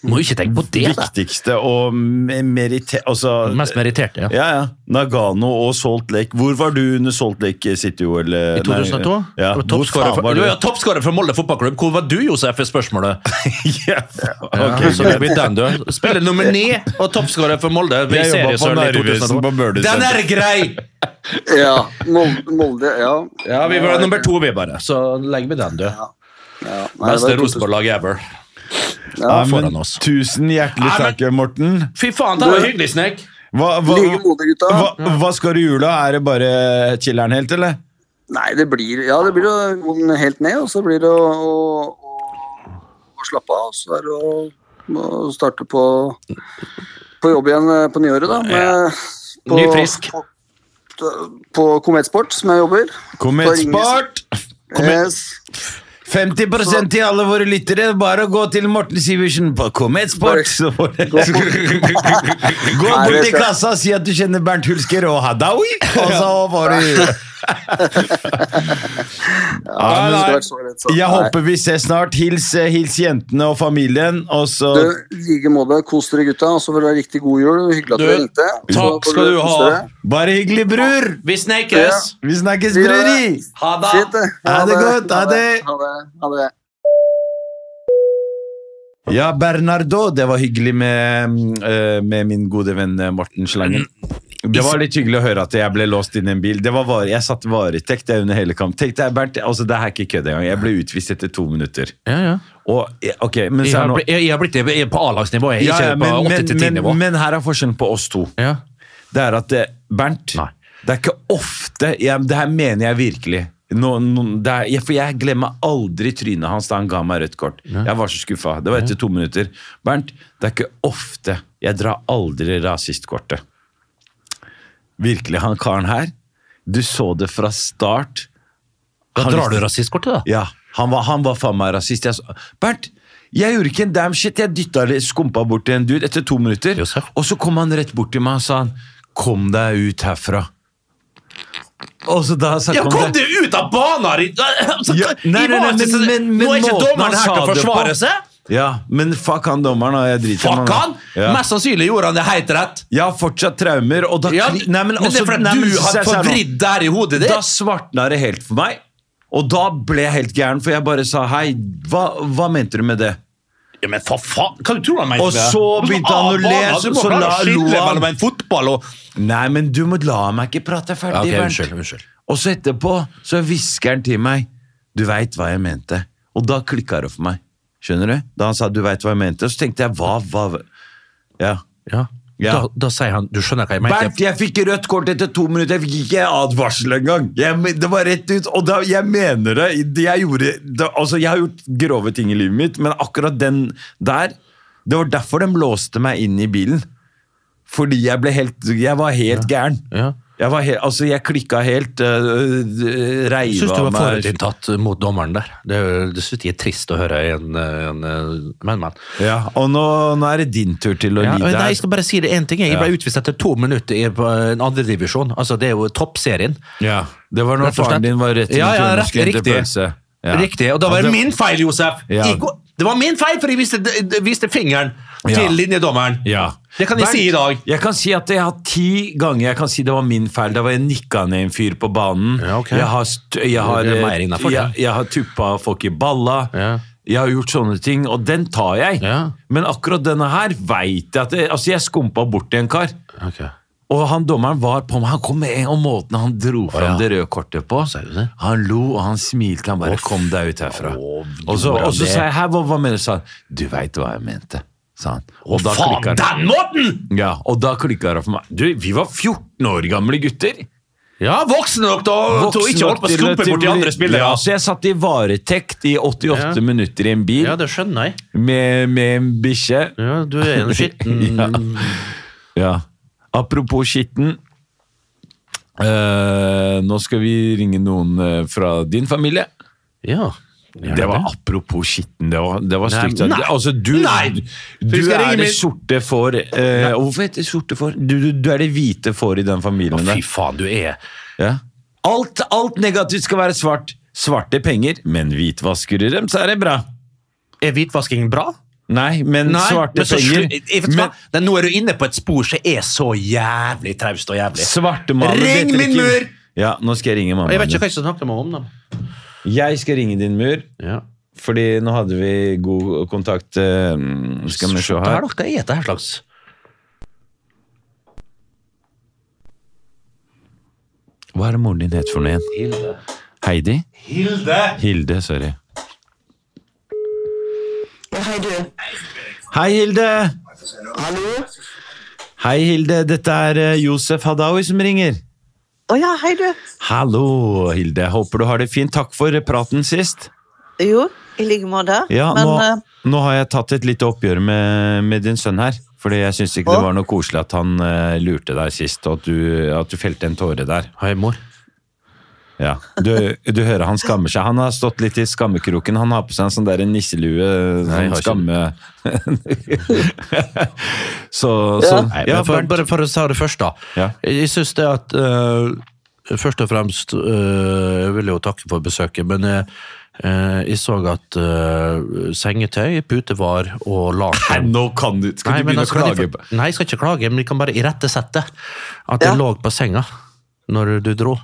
Må ikke tenke på det, da.
Viktigste og me- merite... Altså,
Mest meritterte, ja.
Ja, ja. Nagano og Salt Lake. Hvor var du under Salt Lake eh, City OL?
I 2002?
Ja.
Du var
Hvor
toppskårer
faen
for,
var
du
du?
var toppskårer for Molde fotballklubb. Hvor var du, Josef, er spørsmålet?
ja. ok,
så det
greit.
blir den, du. Spiller nummer ni og toppskårer for Molde. i
Jeg jobba på
seriesølv i
Narvesen
2002.
på
Den
Bøhlesenteret.
er grei!
Ja, Mol- Molde, ja.
Ja, vi var nummer to, vi, bare. Så legger vi den, du.
Ja, nei, det
Beste
var 2000.
Rosenborg-lag ever.
Ja,
foran
men
oss.
Tusen hjertelig
Nei, men-
takk, Morten.
Fy faen, det var hyggelig, Snek.
Hva, hva,
Like mode, gutta.
hva, hva skal du i jula? Er det bare chiller'n helt, eller?
Nei, det blir Ja, det blir å gå den helt ned, og så blir det å, å, å, å slappe av. Og så er det å, å starte på, på jobb igjen eh, på nyåret, da. med- på,
Ny frisk.
På, på Kometsport, som jeg jobber.
Kometsport!
Yes.
50 til alle våre lyttere. Bare å gå til Morten Sivertsen på Kometsport. så får dere- Gå
Nei,
bort
det
til
skal-
kassa og si at du kjenner Bernt Hulsker og Hadaoui, og så får du
Ja,
Nei,
det
nei.
skulle vært så lett, så.
Jeg
Nei.
håper vi ses snart. Hils, eh, hils jentene og familien, og så
Du, I like måte. Kos dere, gutta. Og så får dere ha riktig god jul. Hyggelig at
Du,
dere ringte. Så
takk
får
skal
dere
du
kose
ha.
dere.
Bare hyggelig, bror!
Vi snakkes!
Vi snakkes,
Vi gjør
brødri!
Ha det!
Fint, det.
Ha det godt, ha det.
Ha det. Ha det.
Ja, Bernardo, det var hyggelig med, mm, eh, med min gode venn eh, Morten Slangen. Det var litt hyggelig å høre at jeg ble låst inn i en bil. Det var var, jeg satt varetekt jeg, under hele kamp. Tenk deg, Bernt, altså, det her er ikke kødd engang. Jeg ble utvist etter to minutter.
Ja, ja.
Og, eh, ok, men
Jeg
så
har
er nå...
blitt, jeg, jeg har blitt jeg er på A-lagsnivå, jeg.
Ja, ja,
Ikke
men,
på
men,
8-10-nivå.
men, men her er forskjellen på oss to.
Ja.
Det er at eh, Bernt
Nei.
Det er ikke ofte jeg, Det her mener jeg virkelig. Nå, nå, det er, jeg, for jeg glemmer aldri trynet hans da han ga meg rødt kort. Jeg var så skuffa. Det var etter to minutter. Bernt, det er ikke ofte Jeg drar aldri rasistkortet. Virkelig, han karen her Du så det fra start.
Da
Han
drar
visste-
du rasistkortet, da.
ja, han var, han var faen meg rasist. Jeg, sa, Bernt, jeg gjorde ikke en damn shit. Jeg dytta litt skumpa bort til en dude etter to minutter.
Josef.
Og så kom han rett bort til meg og sa han, kom deg ut herfra. Og så da sa
Ja,
kom
kom
deg-
du ut av banen! din- Altså,
Ja, nei,
i
nei, nei,
varetekt-
men- men- men
Nå er ikke
måten han
dommeren her til
sa
å
det på.
forsvare seg!
Ja, men fuck han dommeren, da. Jeg driter i
Fuck han!
Ja.
Mest sannsynlig gjorde han det helt rett.
Jeg har fortsatt traumer, og da
Ja,
kli- nei, men,
men det
også-
er fordi
nei, men
du
så-
har
så- så-
forvridd det her i hodet ditt.
Da svartna det helt for meg. Og da ble jeg helt gæren, for jeg bare sa hei, hva, hva mente du med det?
Ja, men for faen, Hva du tror han sånn mente?
Og så begynte han å le,
så
så la- lo han.
mellom en fotball og
Nei, men du må la meg ikke prate
ja,
ferdig,
ok,
Bernt.
Unnskyld. unnskyld.
Og så etterpå så hvisker han til meg Du veit hva jeg mente. Og da klikka det for meg. Skjønner du? Da han sa du veit hva jeg mente, så tenkte jeg hva, hva Ja.
Ja.
Ja.
Da, da sier han Du skjønner hva jeg mente?
Bernt, jeg fikk rødt kort etter to minutter. Jeg fikk ikke advarsel engang. Jeg men- Det var rett ut. Og da, jeg mener det. det jeg, gjorde, det altså, jeg har gjort grove ting i livet mitt, men akkurat den der Det var derfor de låste meg inn i bilen. Fordi jeg ble helt Jeg var helt gæren.
Ja.
Jeg, var helt, altså, jeg klikka helt. øh, øh,
Jeg syns
reiva
du var
meg.
forutinntatt mot dommeren der. Det, er- det syns jeg er trist å høre. En, eh, en, en, men, men.
Ja, og nå, nå er det din tur til å
Ja,
lide.
nei, jeg
her.
skal bare si det én ting. Jeg ble
Ja.
utvist etter to minutter i på en andredivisjon. Altså, det er jo toppserien.
Ja, det var når
Rett og slett.
faren din var rett i
Ja, ja,
turen og
rett-
skulle hente
riktig.
pølse. Ja.
Riktig. Og da var
Ja,
det
det-
min feil, Josef!
Ja.
Jeg går- Det var min feil, for jeg viste, d- d- viste fingeren til linjedommeren.
Ja.
Det kan jeg
Bernt,
si i dag.
Jeg kan si at jeg har ti ganger Jeg kan si det var min feil. Da var jeg nikka ned en fyr på banen.
Ja, ok.
Jeg har, st jeg har,
Det er mer innenfor,
jeg, jeg har tuppa folk i balla.
Ja.
Jeg har gjort sånne ting, og den tar jeg.
Ja.
Men akkurat denne her veit jeg at jeg, Altså, jeg skumpa bort til en kar. Og han dommeren var på meg. Han kom med en og måten han dro fram
ja.
det røde kortet på.
du det?
Han lo, og han smilte. Han bare 'kom deg ut herfra'.
Å,
og så,
gjorde han
og så
det?
sa jeg 'hæ, hva, hva mener du?' sa han. 'Du veit hva jeg mente', sa han. Og da klikka det.
Faen, den måten!
Ja, og da klikka det for meg. Du, vi var 14 år gamle gutter.
Ja, voksne nok til å til å ikke holde på å
til-
skrumpe
til-
bort de andre spillere.
Ja, så jeg satt i varetekt i 88
Ja.
minutter i en bil
Ja, det skjønner jeg.
med, med en bikkje.
Ja, du er en skitten
Ja. Apropos skitten. Eh, nå skal vi ringe noen eh, fra din familie.
Ja.
Det var apropos skitten. Det var, det var
Nei,
stygt.
nei.
Altså, du,
Nei.
du
skal
er
ringe
det
min-
sorte får. Eh, og hvorfor heter det sorte får? Du, du, du er det hvite får i den familien. der.
Fy faen, du er
Ja. Alt, alt negativt skal være svart. Svarte penger, men hvitvasker i dem, så er det bra.
Er hvitvasking bra?
Nei, men svarte
men så
penger
slu- jeg vet
men,
hva, det- Nå er du inne på et spor som er så jævlig traust og jævlig.
Svartemaler
Ring
detter
min
ikke inn.
mur!
Ja, nå skal jeg ringe mamma.
Jeg vet ikke
din.
hva jeg skal snakke med om, da.
Jeg skal ringe din mur,
Ja.
fordi nå hadde vi god kontakt. eh, Skal vi se
Hva er
her.
det- hva er det her slags?
Hva er det moren din het for noe igjen?
Hilde.
Heidi?
Hilde!
Hilde, sorry. Hei, Hilde.
Hallo?
Hei, Hilde. Dette er eh, Josef Hadaoui som ringer.
Å ja, hei du.
Hallo, Hilde. Håper du har det fint. Takk for praten sist.
Jo, i like måte.
Ja,
Men
nå,
eh,
nå har jeg tatt et lite oppgjør med, med din sønn her. Fordi jeg syns ikke det
Å?
var noe koselig at han eh, lurte deg sist, og at du, at du felte en tåre der.
Hei, mor.
Ja. Du, du hører han skammer seg. Han har stått litt i skammekroken. Han har på seg en sånn der nisselue,
Nei,
sånn
jeg
skamme... så, så
Ja.
Nei, men
ja,
for,
Bernt.
bare for å ta det først, da.
Ja.
Jeg syns det at øh, først og fremst øh, jeg vil jo takke for besøket, men jeg, øh, jeg så at øh, sengetøy, putevar
Nei,
og laken
nå kan du Skal du begynne å
altså, kan
klage?
jeg,
på-
for- Nei, jeg skal ikke klage, men jeg kan bare irettesette at jeg
Ja.
lå på senga når du dro.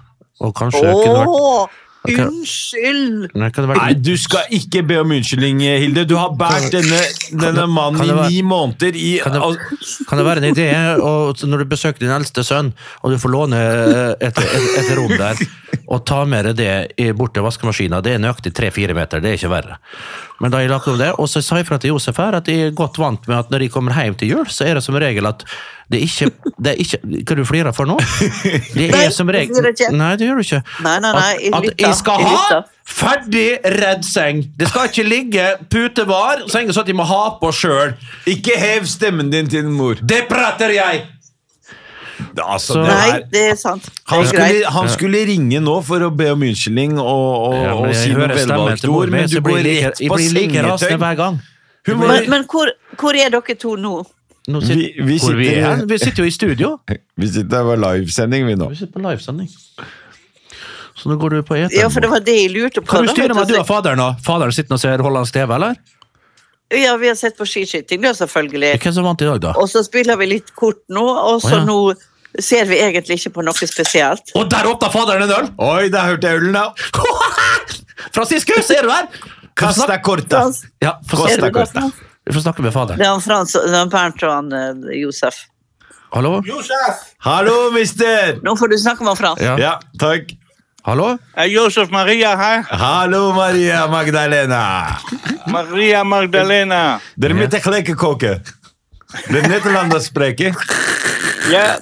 Og kanskje kunne vært
Å,
Ok.
unnskyld!
Nei, kan det være-
Nei, du skal ikke be om unnskyldning, Hilde. Du har båret denne, denne mannen
kan det være-
i ni måneder i
Kan det, kan det være en idé å- når du besøker din eldste sønn, og du får låne eh, et, et, et rom der, og ta med deg det i- bort til vaskemaskinen? Det er nøyaktig tre-fire meter, det er ikke verre. Men da jeg lagt om det, og så sa jeg fra til Josef her at jeg er godt vant med at når jeg kommer hjem til jul, så er det som regel at det er ikke, det er ikke Hva du flirer for nå? Det
Nei,
er som
det gjør
regel
jeg ikke.
Nei, det gjør du ikke.
Nei, nei, nei, jeg
At, at
lytter,
jeg skal
jeg
ha
lytter.
ferdig redd seng. Det skal ikke ligge putevar, sengen sånn at jeg må ha på sjøl.
Ikke hev stemmen din til din mor.
Det prater jeg!
Altså,
Så-
det
Nei,
er,
det er sant. Det
han,
er greit.
skulle, han skulle ringe nå for å be om unnskyldning og, og,
Ja, men
og
jeg
si noe
hører stemmen
velvalgt
til mor
ord,
mi,
men
så
du
blir
går
jeg like-
rett
jeg
på
blir like rasende
sengetøy.
hver gang.
Hun var-
Men, men hvor, hvor er dere to nå?
Nå
Vi-
sit,
vi
hvor vi,
sitter-
er, hen? vi sitter jo i studio.
Vi sitter på livesending, vi nå.
Vi sitter på livesending. Så nå går du på eteren.
Ja, for det var det jeg lurte på.
kan du
da,
styre
vet
meg? Du
så-
har faderen nå. Faderen sitter og ser hollandsk TV, eller?
Ja, vi har sett på skiskyting, da, selvfølgelig.
Hvem som vant i dag, da?
Og så spiller vi litt kort nå, og så
Å, ja.
nå ser vi egentlig ikke på noe spesielt.
Og der åpna faderen en øl!
Oi, der hørte jeg ølen, da!
Franciscus, er du her?
Kasta korta!
Frans,
Ja, få
ser du
snakke,
det,
Costa.
Frans?
vi får snakke med faderen.
Det er han Frans, det er han Bernt og han eh, Josef.
Hallo?
Hallo, mister!
Nå får du snakke med Frans.
Ja.
Ja, takk.
Hallo?
Eh, Josef Maria her.
Hallo, Maria Magdalena.
Maria Magdalena.
Dere blir tegelijk koken. De Nederlanders spreken.
Ja,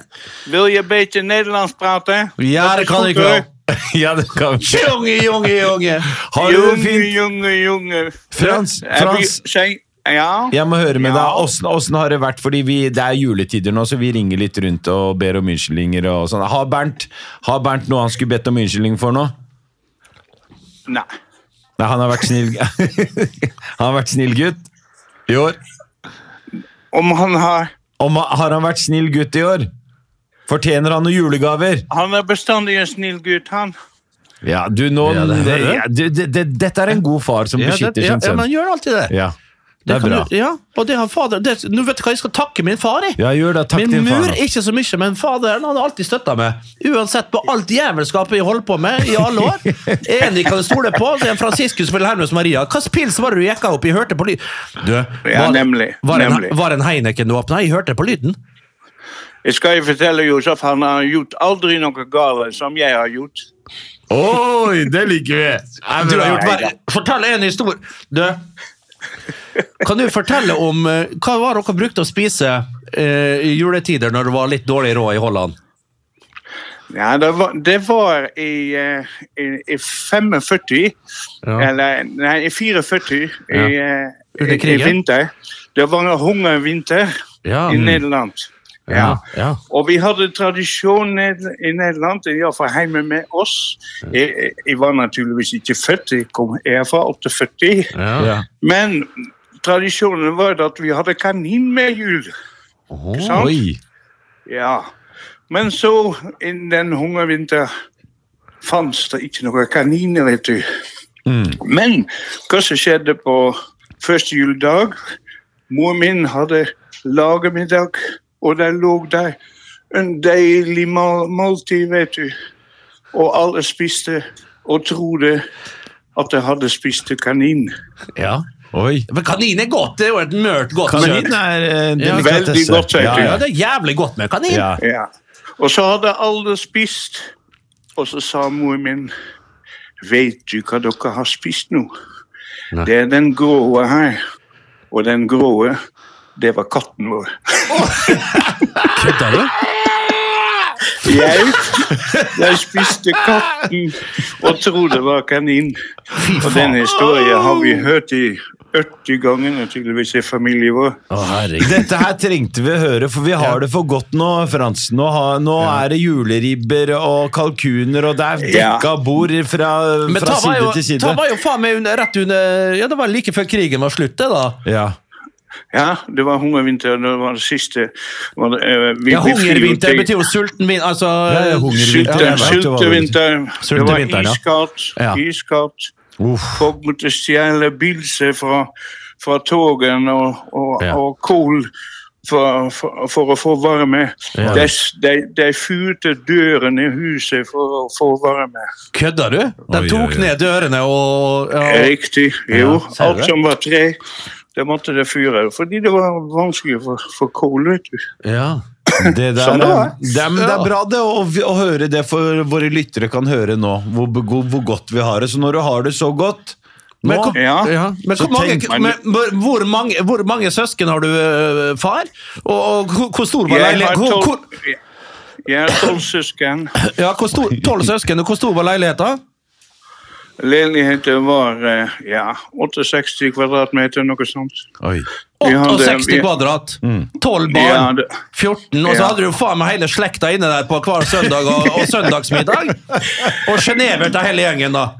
wil je een beetje Nederlands praten?
Ja, dat kan ik wel. Ja, dat kan ik.
Jonge, jonge, jonge!
Hallo,
Jongen,
vriend.
jongen, jongen.
Frans,
Heb
Frans.
je- zijn- ja?
Jeg må høre med
Ja.
deg. Åssen, åssen har det vært? Fordi vi, Det er juletider nå, så vi ringer litt rundt og ber om unnskyldninger. og sånn. Har Bernt, har Bernt noe han skulle bedt om unnskyldning for nå?
Nou,
Nei, han har vært snill Han har vært snill gutt i år.
om han haar.
Om, har han vært snill gutt i år? Fortjener han noen julegaver?
Han er bestandig en snill gutt, han.
Ja, du, nå,
Ja, det
det,
hører jeg.
ja, du, det, det, Dette er en god far som
Ja, det,
beskytter
ja,
sin
ja,
sønn.
men gjør alltid det.
Ja, det er
kan
bra.
Du, ja, og det har fader det, Nå vet du hva jeg skal takke min far i!
Ja, gjør det. Takk
Min
til
mur
faren.
ikke så mye, men faderen han har alltid støtta meg. Uansett på alt jævelskapet jeg holder på med i alle år. En jeg kan stole på, så er en Franciscus Wilhelmus Maria. Hvilken pils var det du jekka opp? Jeg hørte på lyd... Du,
Ja,
var,
nemlig.
var, en,
nemlig.
var en Heineken du åpna? Jeg hørte på lyden.
Jeg skal je vertellen, Josef, han har gjort aldri noe galt som jeg har gjort.
Oi, det liker vi!
Du har gjort verre. Fortell en historie. Du, kan du fortelle om eh, hva var dere brukte å spise eh, i juletider når det var litt dårlig råd i Holland?
Ja, det var, det var i, eh, i, i 45,
Ja.
eller nei, i 44,
Ja.
i, eh,
Under
i, i
krigen?
vinter. Det var en hungervinter
Ja.
mm.
i Nederland.
Ja, ja.
Og vi hadde tradisjon ned- i Nederland, i iallfall hjemme med oss. Jeg, jeg- jeg var naturligvis ikke født, jeg kom herfra opp til 40.
Ja.
Men tradisjonen var at vi hadde kanin med jul. Ikke sant?
Oi.
Ja. Men så, i den hungervinter, fantes det ikke noen kaniner, vet du. Men hva som skjedde på første juledag Mor min hadde lagermiddag, og der lå der en deilig mal måltid, vet du. Og alle spiste og trodde at de hadde spist kanin.
ja.
Oi.
Men kanin er godt. Det er jo et mørt godt
Kanin
kjøtt.
er en
Ja,
veldig godt kjøtt,
Ja,
eh, Ja,
ja.
det er jævlig godt med kanin.
Ja.
Ja. Og så hadde alle spist, og så sa mor min Vet du hva dere har spist nå?
Nei.
Det er den grå her. Og den grå, det var katten vår.
Kødder du?
Jeg, jeg spiste katten og trodde det var kanin. Og den historien har vi hørt i 80 ganger, naturligvis, i familien vår.
Å, herregud.
Dette her trengte vi å høre, for vi har det for godt nå, Frans. Nå, har, nå er det juleribber og kalkuner, og det er
Ja.
dekka bord fra,
Men
fra
ta var,
side til
jo, ta
side.
var jo faen meg under, rett under Ja, det var like før krigen var slutt, det, da.
Ja.
Ja, det var hungervinter. Det var det siste. Det var, eh, vi-
Ja,
vi flyr jo
hungervinter
til-
betyr jo sulten min, altså
ja, hungervinter.
Sylte-
Ja, det var-
Sultevinter. Det var
Sultevinter, ja.
iskaldt.
Ja.
iskaldt.
Uff.
Folk måtte stjele bilser fra, fra togene og, og,
Ja.
og kål for, for, for å få varme.
Ja.
De, de, de fyrte døren i huset for å få varme.
Kødder du? De
Oi, oi, oi.
tok ned dørene og ja.
Riktig. Jo,
Ja, ser du
alt
det?
som var tre, det måtte de fyre. Fordi det var vanskelig for, for kål, vet du.
ja.
Det, der,
Sånn det var.
eh, det, er- men det er bra det, å, å høre det, for våre lyttere kan høre nå hvor, hvor, hvor godt vi har det. Så når du har det så godt nå,
Men, hvor-
Ja.
ja. men,
Så
hvor, mange,
tenk-
men hvor- hvor, mange, hvor mange søsken har du, øh, far? Og, og hvor- hvor stor var
Jeg har
leiligheten? Hvor, hvor,
tolv- jeg har tolv søsken.
ja, hvor stor, tolv søsken, og hvor stor var leiligheten?
Leiligheten var eh, ja, 68 kvadratmeter, noe sånt.
Oi.
Vi hadde-
68
vi-
kvadrat. 12
Ja,
barn.
det-
14. Og så
Ja.
hadde du faen meg hele slekta inne der på hver søndag og, og søndagsmiddag. Og sjenever til hele gjengen, da.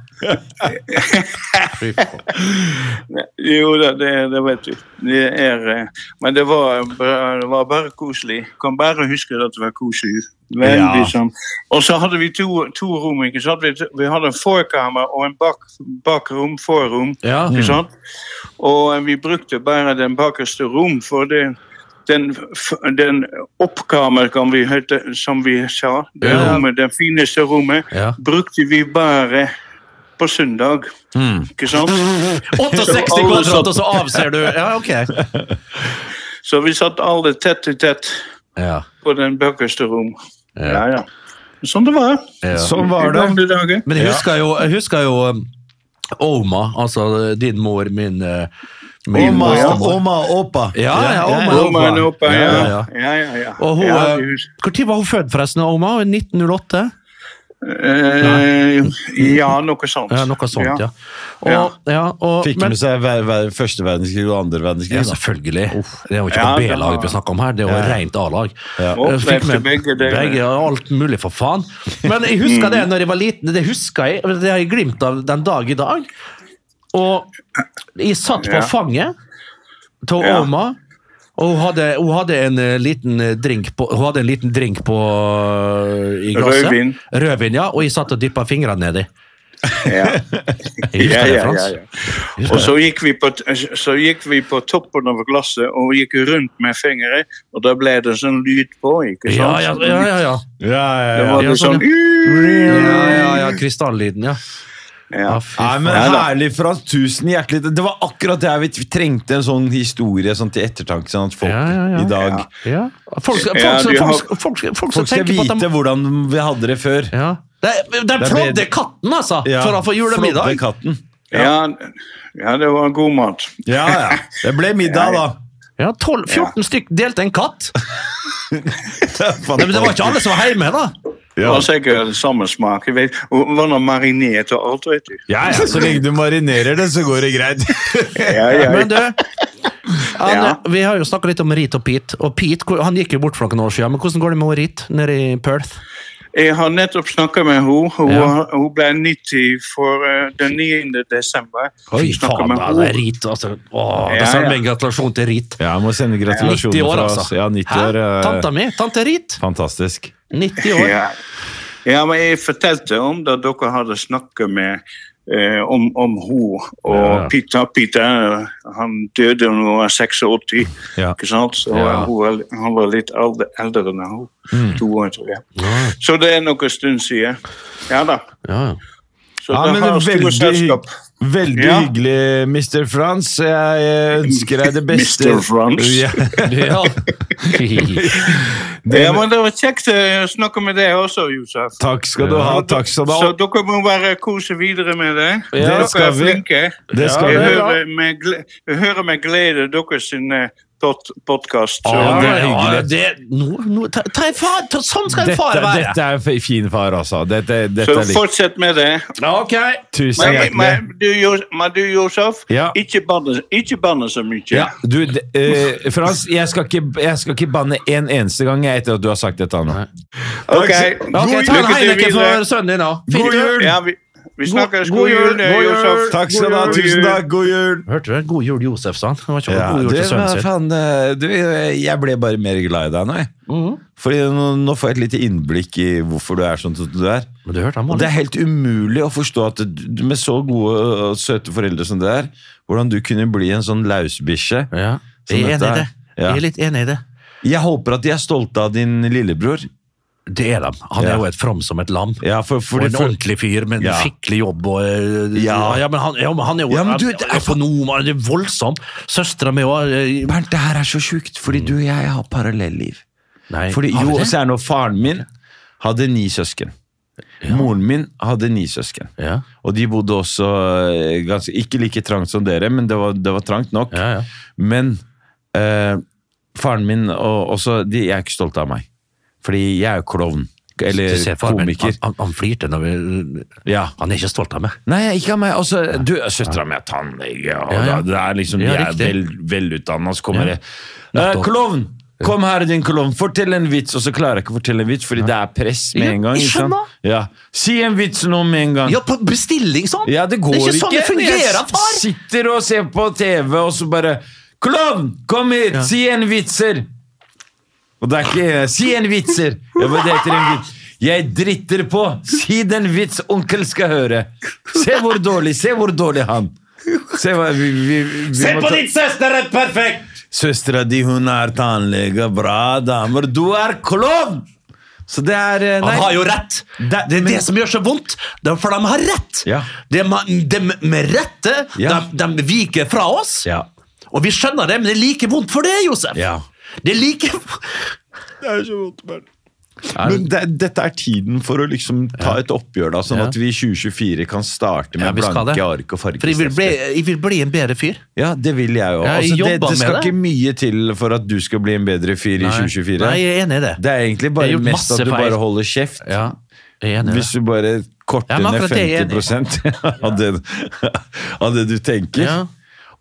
Jo da, det, det vet du. Det er, eh, men det var, bra- det var bare koselig. Kan bare huske at det var koselig. Veldig sånn. Og så hadde vi to, to rom. ikke sant? Vi, vi hadde en forkammer og en bak, bakrom, forrom.
Ja. Mm.
Ikke sant? Og eh, vi brukte bare den bakerste rom, for det, den, f- den oppkammer, kan vi hete, som vi sa, det
Ja.
rommet, den fineste rommet,
Ja.
brukte vi bare på søndag.
Mm.
Ikke sant?
68
Så alle
kvadrat,
satt-
og så avser du Ja, ok.
Så vi satt alle tett i tett
Ja.
på den bakerste rom. Ja, ja. Sånn det var.
Sånn var
I
det.
gamle dager.
Men jeg husker jo, jeg husker jo um, Oma, altså din mor, min, eh, min
Oma,
bestemor.
oma, opa.
Ja, ja, Oma.
Ja, men oppe, ja.
Ja,
Ja,
ja.
ja, ja.
Og hun,
ja,
eh,
du-
hvor tid var hun født, forresten? Oma? 1908?
eh, ja, noe sånt.
Ja, noe sånt, ja. Og, ja og,
Fikk
men,
med seg ver, ver, første verdenskrig og andre verdenskrig.
ja,
da.
selvfølgelig. Det er jo ikke
Ja,
noe
det
B-lag
var-
vi snakker om her, det er jo rent A-lag.
Og
Jeg
opplevde
fikk med
begge Mm. deler.
begge og alt mulig, for faen. Men jeg husker det når jeg var liten, det husker jeg, det har jeg glimt av den dag i dag. Og jeg satt på
Ja.
fanget til
Ja.
Oma, og hun hadde, hun hadde en eh, liten eh, drink på, hun hadde en liten drink på eh, i glasset.
Rødvin.
Rødvin, ja. Og jeg satt og dyppa fingrene nedi.
Ja. Ja,
Jeg husker det,
ja,
Frans.
ja, Og så gikk, vi på, t- så gikk vi på toppen av glasset og gikk rundt med fingeren, og da ble det sånn lyd på, ikke
Ja,
sant?
ja, ja, ja,
Ja,
ja.
ja,
Det
ja.
var
Ja,
litt
sånn,
sånn
Ja, ja, ja, krystallyden, ja.
ja.
Ja, fy
Nei, men
Ja, da.
Herlig, Frans. Tusen hjertelig. Det- Det var akkurat det her vi t- trengte en sånn historie sånn til ettertanke. Sånn at folk
Ja, ja, ja.
i dag
Ja. Folk,
Ja,
folk, folk,
du har-
folk, folk, folk som
Folk skal
tenker på at
vite
de
hvordan vi hadde det før.
ja. De, de
er
flådde
bedre.
katten, altså, for å få
flådde
julemiddag.
katten.
Ja, ja, det var god mat.
Ja, ja. Det ble middag, da.
Ja, 12, 14 stykk delte en katt. Nei, men Det var ikke alle som var hjemme, da.
Det var sikkert samme smak. Jeg vet, og det var noe marinert og alt, vet du.
Ja, ja, så lenge du marinerer det, så går det greit.
Ja, ja,
Men du, Anne,
Ja.
vi har jo snakka litt om Rit og Pete. Og Pete hvor- han gikk jo bort for noen år siden, men hvordan går det med hun Rit nede i Perth?
Jeg har nettopp snakket med henne. Hun,
Ja.
hun ble 90 for eh, den 9. desember.
Fy
Jeg snakket
faen,
med
da,
henne.
det er Rit, altså. Åh,
Ja,
det sender
ja.
en gratulasjon til Rit.
Ja, jeg må sende gratulasjoner
90 år,
fra
altså.
oss. Ja, 90 år.
Hæ?
eh,
Tanta mi, tante Rit.
Fantastisk.
90 år.
Ja. ja, men jeg fortalte om da dere hadde snakket med eh, om, om Oh, hun og
Ja.
Peter. Peter eh, han døde da han var 86,
Ja. Hmm.
ikke sant? Så
Ja.
hun, var- han var litt eldre, eldre enn hun. To år, tror jeg. Så det er noen stund siden. Ja da.
Ja, ja.
Så
Ja,
da
men
har jeg
veldig-
stort selskap.
Veldig
Ja.
hyggelig, Mr. Frans. Jeg eh, ønsker deg det beste.
Mr. Frans.
Ja,
Ja.
Ja, men det var kjekt eh, å snakke med deg også, Josef.
takk skal du ha. Takk skal du ha.
Så dere må bare kose videre med det.
Ja,
dere
skal
er
vi.
flinke.
Det skal
jeg,
vi.
hører med glede, jeg hører med glede deres podkast.
Ja, det er
Ja,
hyggelig.
det, nå, nå, ta, ta en far, ta, sånn skal en
Dette,
far være!
dette er en fi- fin far, altså. Dette, dette
Så
er litt.
fortsett med det.
Ok.
Tusen
Men,
hjertelig.
men, du, Jo- men du, Josef,
Ja.
ikke banne ikke banne så mye.
Ja, du, d- eh, Frans, jeg skal, ikke, jeg skal ikke banne en eneste gang jeg, etter at du har sagt dette nå.
Ok,
Ok, ta en
lykke til
Heineken
videre.
for sønnen din, da.
Ja, vi, Vi snakkes.
God jul!
eh,
God jul!
Josef.
Takk skal du ha.
God jul.
Tusen takk. God jul!
Hørte du det? God jul, Josef, sa han. Det var ikke
Ja,
god jul
det
til sønnen
var
sin.
faen, eh, du, jeg ble bare mer glad i deg nå. jeg.
Mhm.
Fordi nå, nå får jeg et lite innblikk i hvorfor du er sånn som du er.
Men du hørte han
Og
var
det er helt umulig å forstå at du, med så gode og søte foreldre som det er, hvordan du kunne bli en sånn lausbikkje.
Ja.
Som
Jeg er enig
dette
i
er.
det.
Ja.
Jeg er litt enig i det.
Jeg håper at de er stolte av din lillebror.
Det er de. Han er
Ja.
jo et from som et lam.
Ja, for,
Og
fordi-
en
for,
ordentlig fyr med en
Ja.
skikkelig jobb. Og, eh, ja.
Ja.
men han, ja, men han er jo
Ja, men du, det er-
økonom, han er voldsom. Søstera mi eh, òg
Bernt, det her er så sjukt, fordi du og jeg har parallelliv.
Nei,
Fordi,
har vi
jo,
det?
så er det noe faren min hadde ni søsken. Moren min hadde ni søsken.
Ja.
Og de bodde også eh, ganske, ikke like trangt som dere, men det var, det var trangt nok.
Ja, ja.
Men eh, faren min og også de, Jeg er ikke stolt av meg. Fordi jeg er jo klovn. Eller
Du ser faren min,
komiker.
Han, han, han flirte når vi
Ja.
Han er ikke stolt av meg.
Nei, ikke av meg. Altså, du, søstera mi er tannlege, og
Ja, ja.
da- det er liksom, de
Ja,
er
riktig.
vel, velutdanna, så kommer
Ja.
det eh,
Nettopp.
Klovn! Kom her, din klovn. Fortell en vits, og så klarer jeg ikke å fortelle en vits, fordi det er press med en gang.
jeg
Ikke
skjønner.
sant? Ja. Si en vits nå med en gang.
Ja, på bestilling, sånn!
Ja, det går
det er ikke sånn det fungerer,
Jeg
far!
sitter og ser på TV, og så bare Klovn! Kom hit! Si en vitser! Og det er ikke Si en vitser! Jeg, bare, det heter en vits. jeg dritter på! Si den vits onkel skal høre! Se hvor dårlig! Se hvor dårlig han! Se, hva, vi, vi, vi, Se på ditt søster! Perfekt! Søstera di, hun er tannlege. Bra, damer. Du er klovn! Så det er eh, nei.
Han har jo rett! Det,
Det-
det er
men-
det som gjør så vondt, det er for de har rett!
Ja.
De, de med rette
Ja.
de, de viker fra oss,
Ja.
og vi skjønner det, men det er like vondt for det, Josef!
Ja.
Det er like
Men det, dette er tiden for å liksom ta et oppgjør, da, sånn
Ja.
at vi i 2024 kan starte med
Ja, vi skal
blanke
det.
ark og
For jeg vil, bli,
fargestifter.
jeg vil bli en bedre fyr.
Ja, det vil jeg jo.
Ja, jeg
Altså, det,
jobber
det skal
med det.
ikke mye til for at du skal bli en bedre fyr i 2024.
Nei, jeg er enig i det.
Det er egentlig
Jeg
bare
har gjort
mest at
masse
du
feil.
bare holder kjeft.
Ja, jeg er enig i
Hvis
det.
du bare korter
Ja, men
ned
akkurat det er jeg enig i.
50 av det, av det du tenker.
Ja.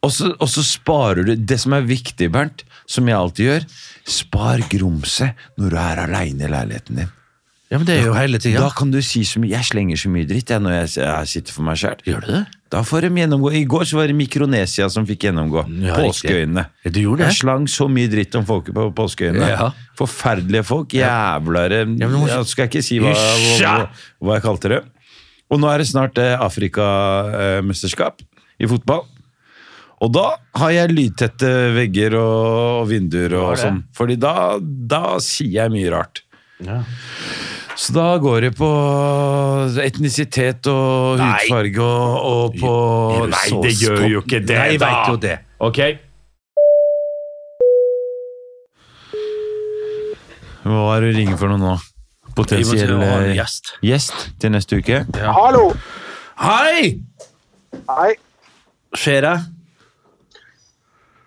Og, så, og så sparer du Det som er viktig, Bernt, som jeg alltid gjør, spar grumset når du er aleine i leiligheten din.
Ja, men det er jo hele
Da
tida.
kan du si så mye Jeg slenger så mye dritt jeg, når jeg, jeg sitter for meg sjøl.
Gjør du det?
Da får de gjennomgå. I går så var det Mikronesia som fikk gjennomgå.
Ja,
påskeøyene.
riktig. Ja, du gjorde det.
Jeg slang så mye dritt om folket på påskeøyene.
Ja.
Forferdelige folk. Jævlere
men du må ikke-
Jeg skal ikke si hva, hva, hva,
Hysja!
hva jeg kalte det. Og nå er det snart eh, Afrikamesterskap i fotball. Og da har jeg lydtette vegger og, og vinduer og sånn. Fordi da, da sier jeg mye rart. Så da går det på etnisitet og hudfarge og, og på
Er du så stolt? Nei, jeg vet jo det.
Ok. Hva er det du ringer for noe nå? Potensiell eh,
gjest.
gjest til neste uke?
Hallo!
Hei!
Hei.
Skjer det?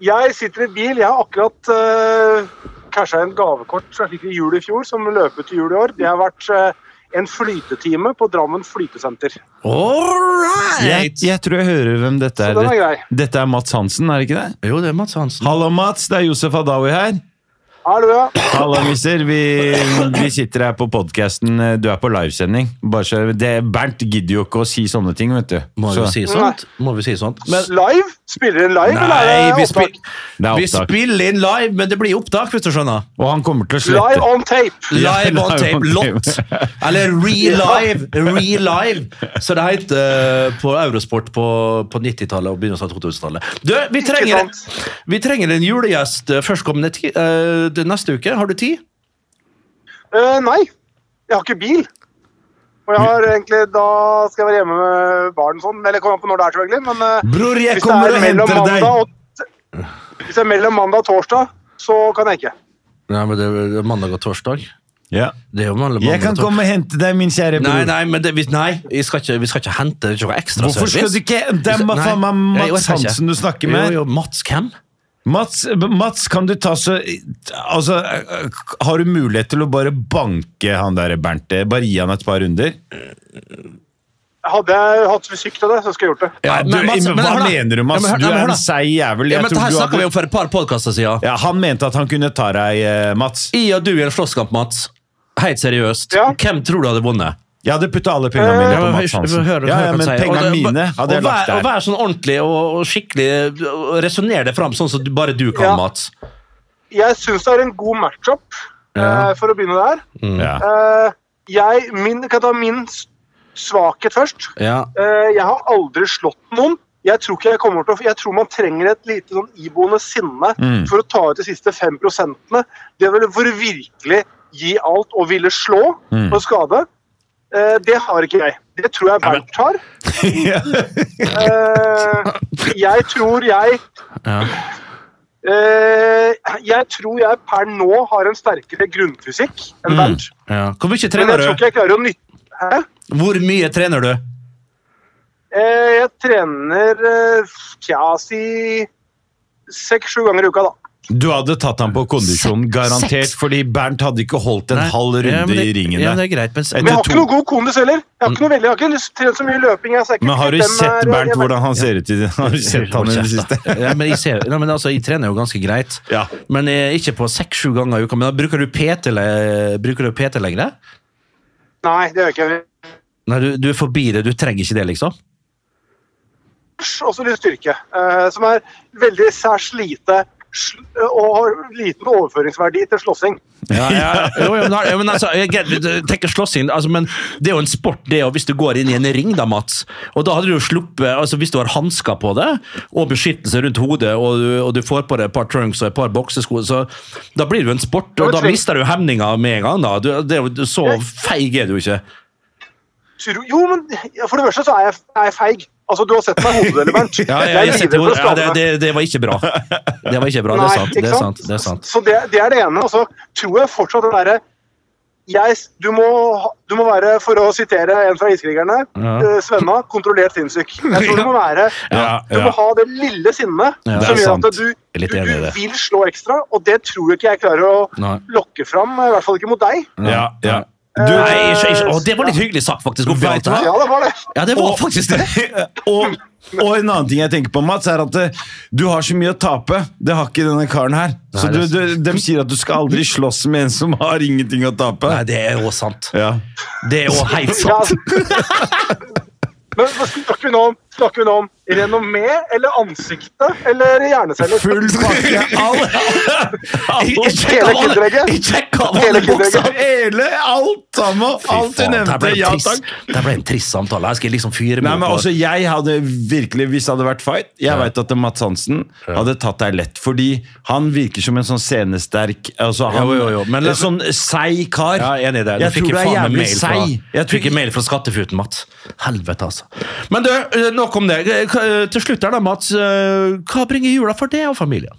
Jeg sitter i bil. Jeg har akkurat uh, casha inn gavekort som jeg fikk i jul i fjor, som løper til jul i år. Det har vært eh, en flytetime på Drammen flytesenter.
All
Jeg,
right!
jeg tror jeg hører hvem dette
Så den er
er.
grei.
Dette er Mats Hansen, er det ikke det?
Jo, det er Mats Hansen.
Hallo, Mats. Det er Josef Adawi her.
Hallo, ja.
Halla, mister. Vi, vi sitter her på podkasten. Du er på livesending. Bare så, det, Bernt gidder jo ikke å si sånne ting, vet du.
Må vi
Så,
si sånt? Må vi si sånt? Men,
Live? Spiller en live, eller
nei,
er
vi,
det opptak?
spil-
det er
vi
opptak.
spiller inn live, men det blir opptak, hvis du skjønner.
Og han kommer til å
Live
slette.
on tape.
Live
Ja,
on
live on
tape. Lot. Eller re-live. Re-live, som det het eh, på Eurosport på, på 90-tallet og begynnelsen av 2000-tallet. Du, vi trenger, vi trenger en julegjest eh, førstkommende ti, eh, det- neste uke. Har du tid?
Eh, nei, jeg har ikke bil. Og jeg har egentlig, Da skal jeg være hjemme med barn sånn. Eller kommer an på når det er, selvfølgelig. Men eh,
Bror, jeg
hvis det er
kommer og
mellom
henter deg!
mandag og Hvis det er mellom mandag og torsdag, så kan jeg ikke.
Nei, men det er mandag og torsdag.
Ja.
Det er jo mandag,
Jeg kan
og torsdag.
komme og hente deg, min kjære bror.
Nei, nei, men det, vi, nei vi, skal ikke, vi skal ikke hente det er ikke noe ekstra
Hvorfor skal du
service.
ikke Det er
Nei,
faen meg
jeg orker
Mats
ikke.
Hansen du snakker med.
Jo, jo, Mats hvem?
Mats, Mats, kan du ta så Altså, har du mulighet til å bare banke han der Bernt? Bare gi han et par runder?
Hadde jeg hatt fysikk til det, så skulle jeg gjort det.
Ja,
men
du,
Mats- men
hva
hør da.
mener du, Mats?
Ja, men hør-
du
ja, men hør
er
da.
en seig jævel.
Ja,
Jeg
men
tror
Her
du
snakka vi
hadde...
om for et par podkaster siden.
ja, han mente at han kunne ta deg, eh, Mats.
I og du i en slåsskamp, Mats. Helt seriøst.
Ja.
Hvem tror du hadde vunnet?
Jeg hadde putta alle pengene mine på
men
Mads
hør-
Hansen.
hør-
Ja,
hør hva
ja,
han
men
sier.
pengene
Og det-
mine
og
hadde jeg lagt
vær- Og
der.
vær sånn ordentlig og, og skikkelig og Resonner det fram sånn som du- bare du kan,
Ja.
Mats.
Jeg syns det er en god matchup,
Ja.
eh, for å begynne der.
Ja.
Eh, jeg, min, kan jeg ta min s- svakhet først?
Ja.
Eh, jeg har aldri slått noen. Jeg tror, ikke jeg, kommer til å, jeg tror man trenger et lite sånn iboende sinne
Mm.
for å ta ut de siste fem prosentene. Det ville for virkelig gi alt og ville slå
Mm.
og skade. Eh, det har ikke jeg. Det tror jeg Bernt har. Eh, jeg tror jeg
Ja.
Eh, Jeg tror jeg per nå har en sterkere grunnfysikk
Mm.
enn Bernt.
Ja. Hvor mye
Men
trener
jeg tror
du?
ikke jeg klarer å nytte Hæ?
Hvor mye trener du?
Eh, Jeg trener eh, tja, si seks-sju ganger i uka, da.
Du hadde tatt ham på kondisjon,
Seks-
garantert,
seks.
fordi Bernt hadde ikke holdt en
Nei.
halv runde
Ja, men det-
i ringen
Ja,
der.
det er greit, men,
Men jeg har
to.
ikke noe god kondis heller. Jeg har ikke noe veldig, jeg har ikke trent så mye løping. Jeg, så jeg er ikke
Men har du
sikkert den
sett
er-
Bernt
jeg-
hvordan han ser ut i det? Har du sett han i det siste?
ja, men, jeg ser, nei, men altså, jeg trener jo ganske greit,
Ja.
men eh, ikke på seks-sju ganger i uka. Men da bruker du PT, le- bruker du PT lenger?
Nei, det gjør jeg ikke.
Nei, du, du er forbi det. Du trenger ikke det, liksom?
Og så litt styrke, eh, som er veldig særs lite sl- og har liten overføringsverdi til slåssing.
Ja, ja. Jo, jo, men, har- jo, men altså, jeg greit, vi tenker slåssing, altså, men det er jo en sport, det òg, hvis du går inn i en ring, da, Mats. Og da hadde du jo sluppet altså, Hvis du har hansker på det, og beskyttelse rundt hodet, og du, og du får på deg et par trunks og et par boksesko, så da blir det jo en sport, og da mister du hemninga med en gang. da. Du, det er jo, så feig er du ikke.
Tror- Jo, men for det første så er jeg, er jeg feig. Altså, Du har sett meg i hodet, eller, Bernt.
Ja,
Jeg er
jeg, jeg
livredd
setter,
for å
ja,
skade
det,
meg.
det, det var ikke bra. Det var ikke bra, det
Nei,
er sant.
ikke
Det er sant, det er sant.
Så det, det er det ene. Og så tror jeg fortsatt det derre jeg, du, må, ha- du må være, for å sitere en fra Iskrigerne,
Ja.
eh, Svenna, kontrollert sinnssyk. Jeg tror du må være
Ja,
Du
ja.
må ha det lille sinnet som
Ja.
Det er
gjør
sant.
at du,
er
du,
litt enig i
du
det.
vil slå ekstra, og det tror jeg ikke jeg klarer å
Nei.
lokke fram. eh, I hvert fall ikke mot deg.
Ja, ja.
Du, nei, ikke, ikke. Å, det var litt hyggelig sagt, faktisk. oppi alt det her.
Ja, det var det.
Ja, det var
Og-
faktisk det.
Og, og en annen ting jeg tenker på, Mats, er at eh, du har så mye å tape. Det har ikke denne karen her. Så
Nei,
du,
det
du, de sier at du skal aldri slåss med en som har ingenting å tape.
Nei, det er jo sant.
Ja.
Det er jo helt
Ja.
sant.
Men hva snakker vi nå om Snakker vi nå om renommé eller ansiktet eller hjerneceller?
Full pakke.
Jeg jeg
Hele
sjekka alle,
kinderegget.
jeg sjekket alle
Hele
bokser.
kinderegget.
Hele, alt sammen.
Fy
Alt du
faen, det her
nevnte.
ble en
Ja
trist-
takk.
Det her ble en trist samtale. Jeg skal liksom fyre
Nei,
meg
men
opp og-
også jeg hadde virkelig, Hvis det hadde vært fight Jeg vet at Mats Hansen hadde tatt deg lett. Fordi han virker som en sånn scenesterk altså han,
Jo, jo, jo, men-
En sånn seig kar.
Ja, jeg er enig i
Jeg
det. Jeg fikk
tror
jeg
du er
faen meg
jævlig
mail fra,
seig. Jeg
jeg
tror
fikk jeg mail fra Skattefuten, Mats. Helvete, altså. Men du, eh, nok om det. Eh, k- eh, Til slutt her, da, Mats. eh, Hva bringer jula for deg og familien?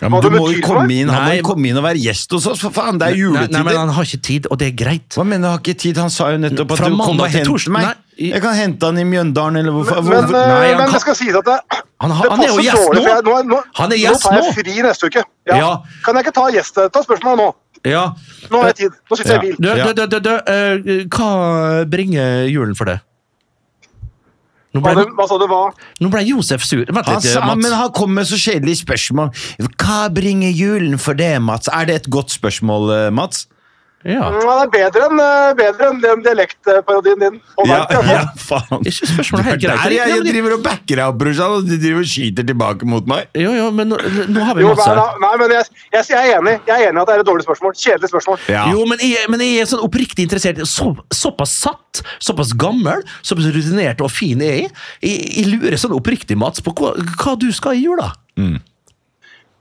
Ja,
Hva
men du
det
må jo
betyr for
komme
meg?
inn, han må
Nei,
jo komme inn og være gjest hos oss, for faen! Det er
Nei,
juletider!
nei, men han har ikke tid, og det er greit.
Hva mener du, har ikke tid? Han sa jo nettopp at
Fra
du kom
mandag
og
til
hente
torsdag-
meg.
Nei, i-
Jeg kan hente han i Mjøndalen, eller hvorfor?
Men,
hvorfor-
eh,
Nei, han
men
kan-
det skal sies at det,
Han,
det
har- han er jo
passer
gjest
dårlig. For
nå!
jeg, nå, nå,
Han er
nå
gjest
tar jeg
nå.
fri neste uke. Ja.
Ja.
Kan jeg ikke ta gjest? Ta spørsmålet nå.
Ja.
Nå har jeg tid. Nå sitter jeg i
Du,
bil.
du, du, du, du, eh, hva bringer julen for deg? Nå
Hva,
ble,
du- hva sa du hva?
nå ble Josef sur. Vent
Han
litt, eh,
sa, Altså, men
Mats.
han kom med så kjedelige spørsmål. Hva bringer julen for det, Mats? Er det et godt spørsmål, eh, Mats?
Ja.
Mm, Ja, det er bedre enn, eh, bedre enn den dialektparodien din. Og Bernt, altså.
ja faen.
Jeg synes spørsmålet er helt
Det
greit.
er jeg,
Ja,
jeg
men det-
driver og backer deg opp, brorsan, og du driver og skyter tilbake mot meg.
Jo, jo, men nå, nå har vi
Jo, nei,
Mats her.
nei, nei, men jeg, jeg, jeg er enig Jeg er enig i at det er et dårlig spørsmål. Kjedelig spørsmål.
Jo, men jeg, men jeg er sånn oppriktig interessert. Så, såpass satt, såpass gammel, såpass rutinert og fin er jeg. Jeg, jeg lurer sånn oppriktig, Mats, på hva, hva du skal i jula.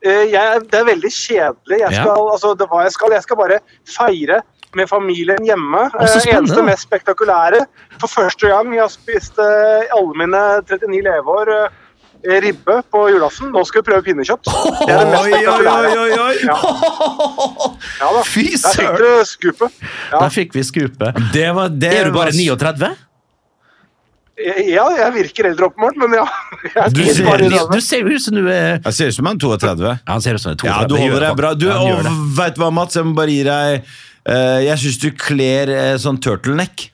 Eh, jeg, det er veldig kjedelig. Jeg
Ja.
skal, altså, det, er hva jeg, skal. jeg skal bare feire med familien hjemme.
Å, så
Eh,
spennende, da.
eneste mest spektakulære. For første gang jeg har spist eh, i alle mine 39 leveår eh, ribbe på julaften. Nå skal vi prøve pinnekjøtt. Det er det mest
Oi, oi, oi,
spektakulære.
oi, oi.
Ja, da.
Fy
Der fikk
søren!
du skupet. Ja.
Der fikk vi skupet.
Det var det.
Er du bare
var-
39?
ja, jeg virker eldre åpenbart, men ja. Jeg
Du
spiser
ser
bare
det.
ribbe.
Du ser jo ut som du er
Jeg ser ut som han er 32.
Ja, Han ser ut som han er 32.
Ja, du holder deg bra. Du,
Ja, han gjør det.
og vet du hva, Mats? Jeg må bare gi deg eh, Jeg syns du kler eh, sånn turtleneck.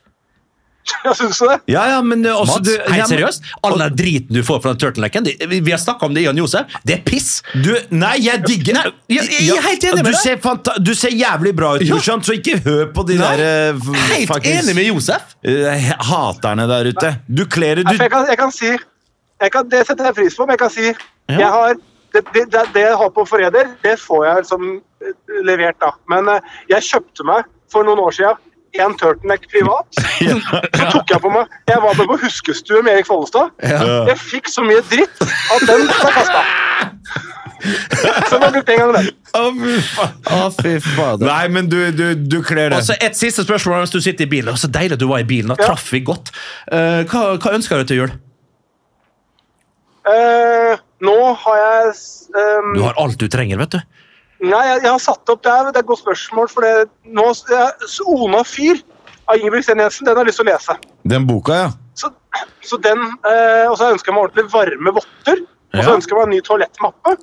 Jeg syns det.
Ja, ja, men eh, også
Mats,
du-
hei,
ja, men-
seriøst? All den driten du får fra den turtlenecken det- Vi vi har snakka om det, Jan Josef. Det er piss!
Du, nei, jeg digger
Nei, jeg- jeg er helt enig med
du
deg.
ser fanta du ser jævlig bra ut,
Ja.
Morsan, så ikke hør på de
Nei,
der eh, f-
Helt
fuckings,
enig med Josef!
eh, haterne der ute. Du kler det
Nei, for
du
Jeg, kan, jeg kan si jeg kan, Det setter jeg pris på, men jeg kan si jeg har, det, det, det- det jeg har på Forræder, det får jeg liksom eh, levert, da. Men eh, jeg kjøpte meg for noen år siden en turtleneck privat. Så tok jeg på meg Jeg var med på huskestue med Erik Follestad. Jeg fikk så mye dritt at den ble kasta. Så nå brukte jeg en gang den.
Nei, men du, du, du kler det.
Og så Et siste spørsmål mens du sitter i bilen. Og Så deilig du var i bilen. Da traff vi godt. Eh, hva, hva ønsker du til jul?
Eh, nå har jeg s- ehm,
Du har alt du trenger, vet du.
Nei, jeg, jeg har satt opp det her, det er et godt spørsmål. For det, nå, jeg, Ona Fyr av Ingebrigt Sten Jensen, den har jeg lyst til å lese.
Den boka, ja.
Så, så den, eh, Og så ønsker jeg meg ordentlig varme votter. Og så
Ja.
ønsker jeg meg en ny toalettmappe.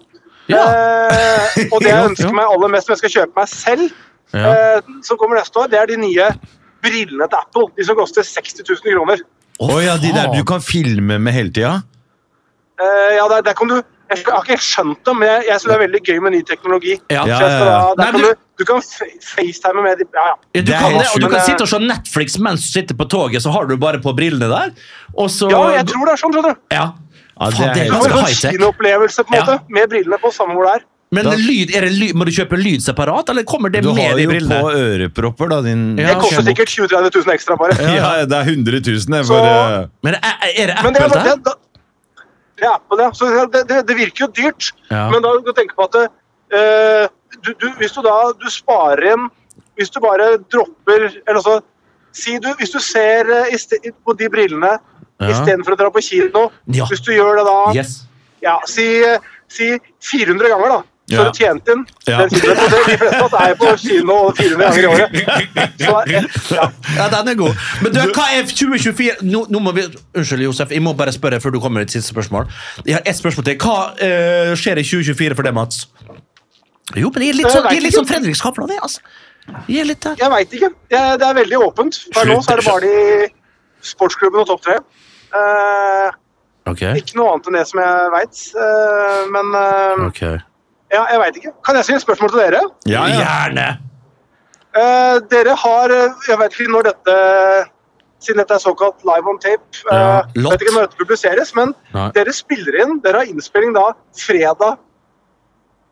Ja.
Eh, og det
Ja,
jeg ønsker
ja.
meg aller mest som jeg skal kjøpe meg selv,
Ja.
eh, som kommer neste år, det er de nye brillene til Apple. De som koster 60 000 kroner.
Å ja, de der du kan filme med hele tida.
Eh, ja, der, der kan du Jeg har ikke skjønt det, men jeg, jeg syns det er veldig gøy med ny teknologi.
Ja.
Så jeg
Ja,
skal,
ja,
da-
ja.
der
Nei,
kan
du-
du, du kan fa- facetime med de Ja, ja.
Ja, du
Det er
kan
helt
det, og du
sjukt.
kan sitte og se Netflix mens du sitter på toget, så har du bare på brillene der. Og så,
Ja, jeg tror det er sånn, skjønner du.
Ja.
Ja, det
Faen, det
er
er
Du har
ganske
jo en
high-tech.
kinoopplevelse, på en
Ja.
måte, med brillene på, samme hvor det er.
Men
Da-
lyd, er det lyd, må du kjøpe lyd separat, eller kommer det
Du har
med i
jo på
brillene?
ørepropper, da, din
Ja,
Det koster
ok.
sikkert 20 000-30 000 ekstra, bare.
Ja, det er 100 000 det,
Så-
for eh,
Men er, er det
Men det,
Apple
er- det,
der?
det, det er Apple, ja. Så det, det, det virker jo dyrt,
Ja.
men da kan du tenke på at eh, du, du, hvis du da du sparer inn Hvis du bare dropper Eller altså Si du, hvis du ser eh, i ste- på de brillene
Ja.
istedenfor å dra på kino
Ja.
Hvis du gjør det da
Yes.
ja, si, si 400 ganger, da. Så
Ja.
du tjent inn.
Ja.
Den filmen, og det, de fleste av oss er jo på kino 400 ganger i året. Så, ja.
Ja, den er god. Men du, hva er 2024 nå, nå må vi, Unnskyld, Josef, jeg må bare spørre før du kommer med ditt siste spørsmål. Jeg har ett spørsmål til. Hva eh, skjer i 2024 for deg, Mats? Jo, men jeg er litt
Jeg
sånn,
vet
jeg er litt
ikke.
sånn Fredrik Skavlan, jeg, altså. Jeg er litt der.
Jeg veit ikke. Jeg, det er veldig åpent. Per nå så er det bare de sportsklubben og topp tre. Eh,
Ok,
ikke noe annet enn det som jeg veit. men eh,
ok.
ja, jeg veit ikke. Kan jeg si et spørsmål til dere?
ja, ja.
Gjerne.
Eh, dere har eh, Jeg veit ikke når dette Siden dette er såkalt live on tape. eh,
Ja,
jeg
lot.
vet ikke når dette publiseres, men
Nei.
dere spiller inn. Dere har innspilling da fredag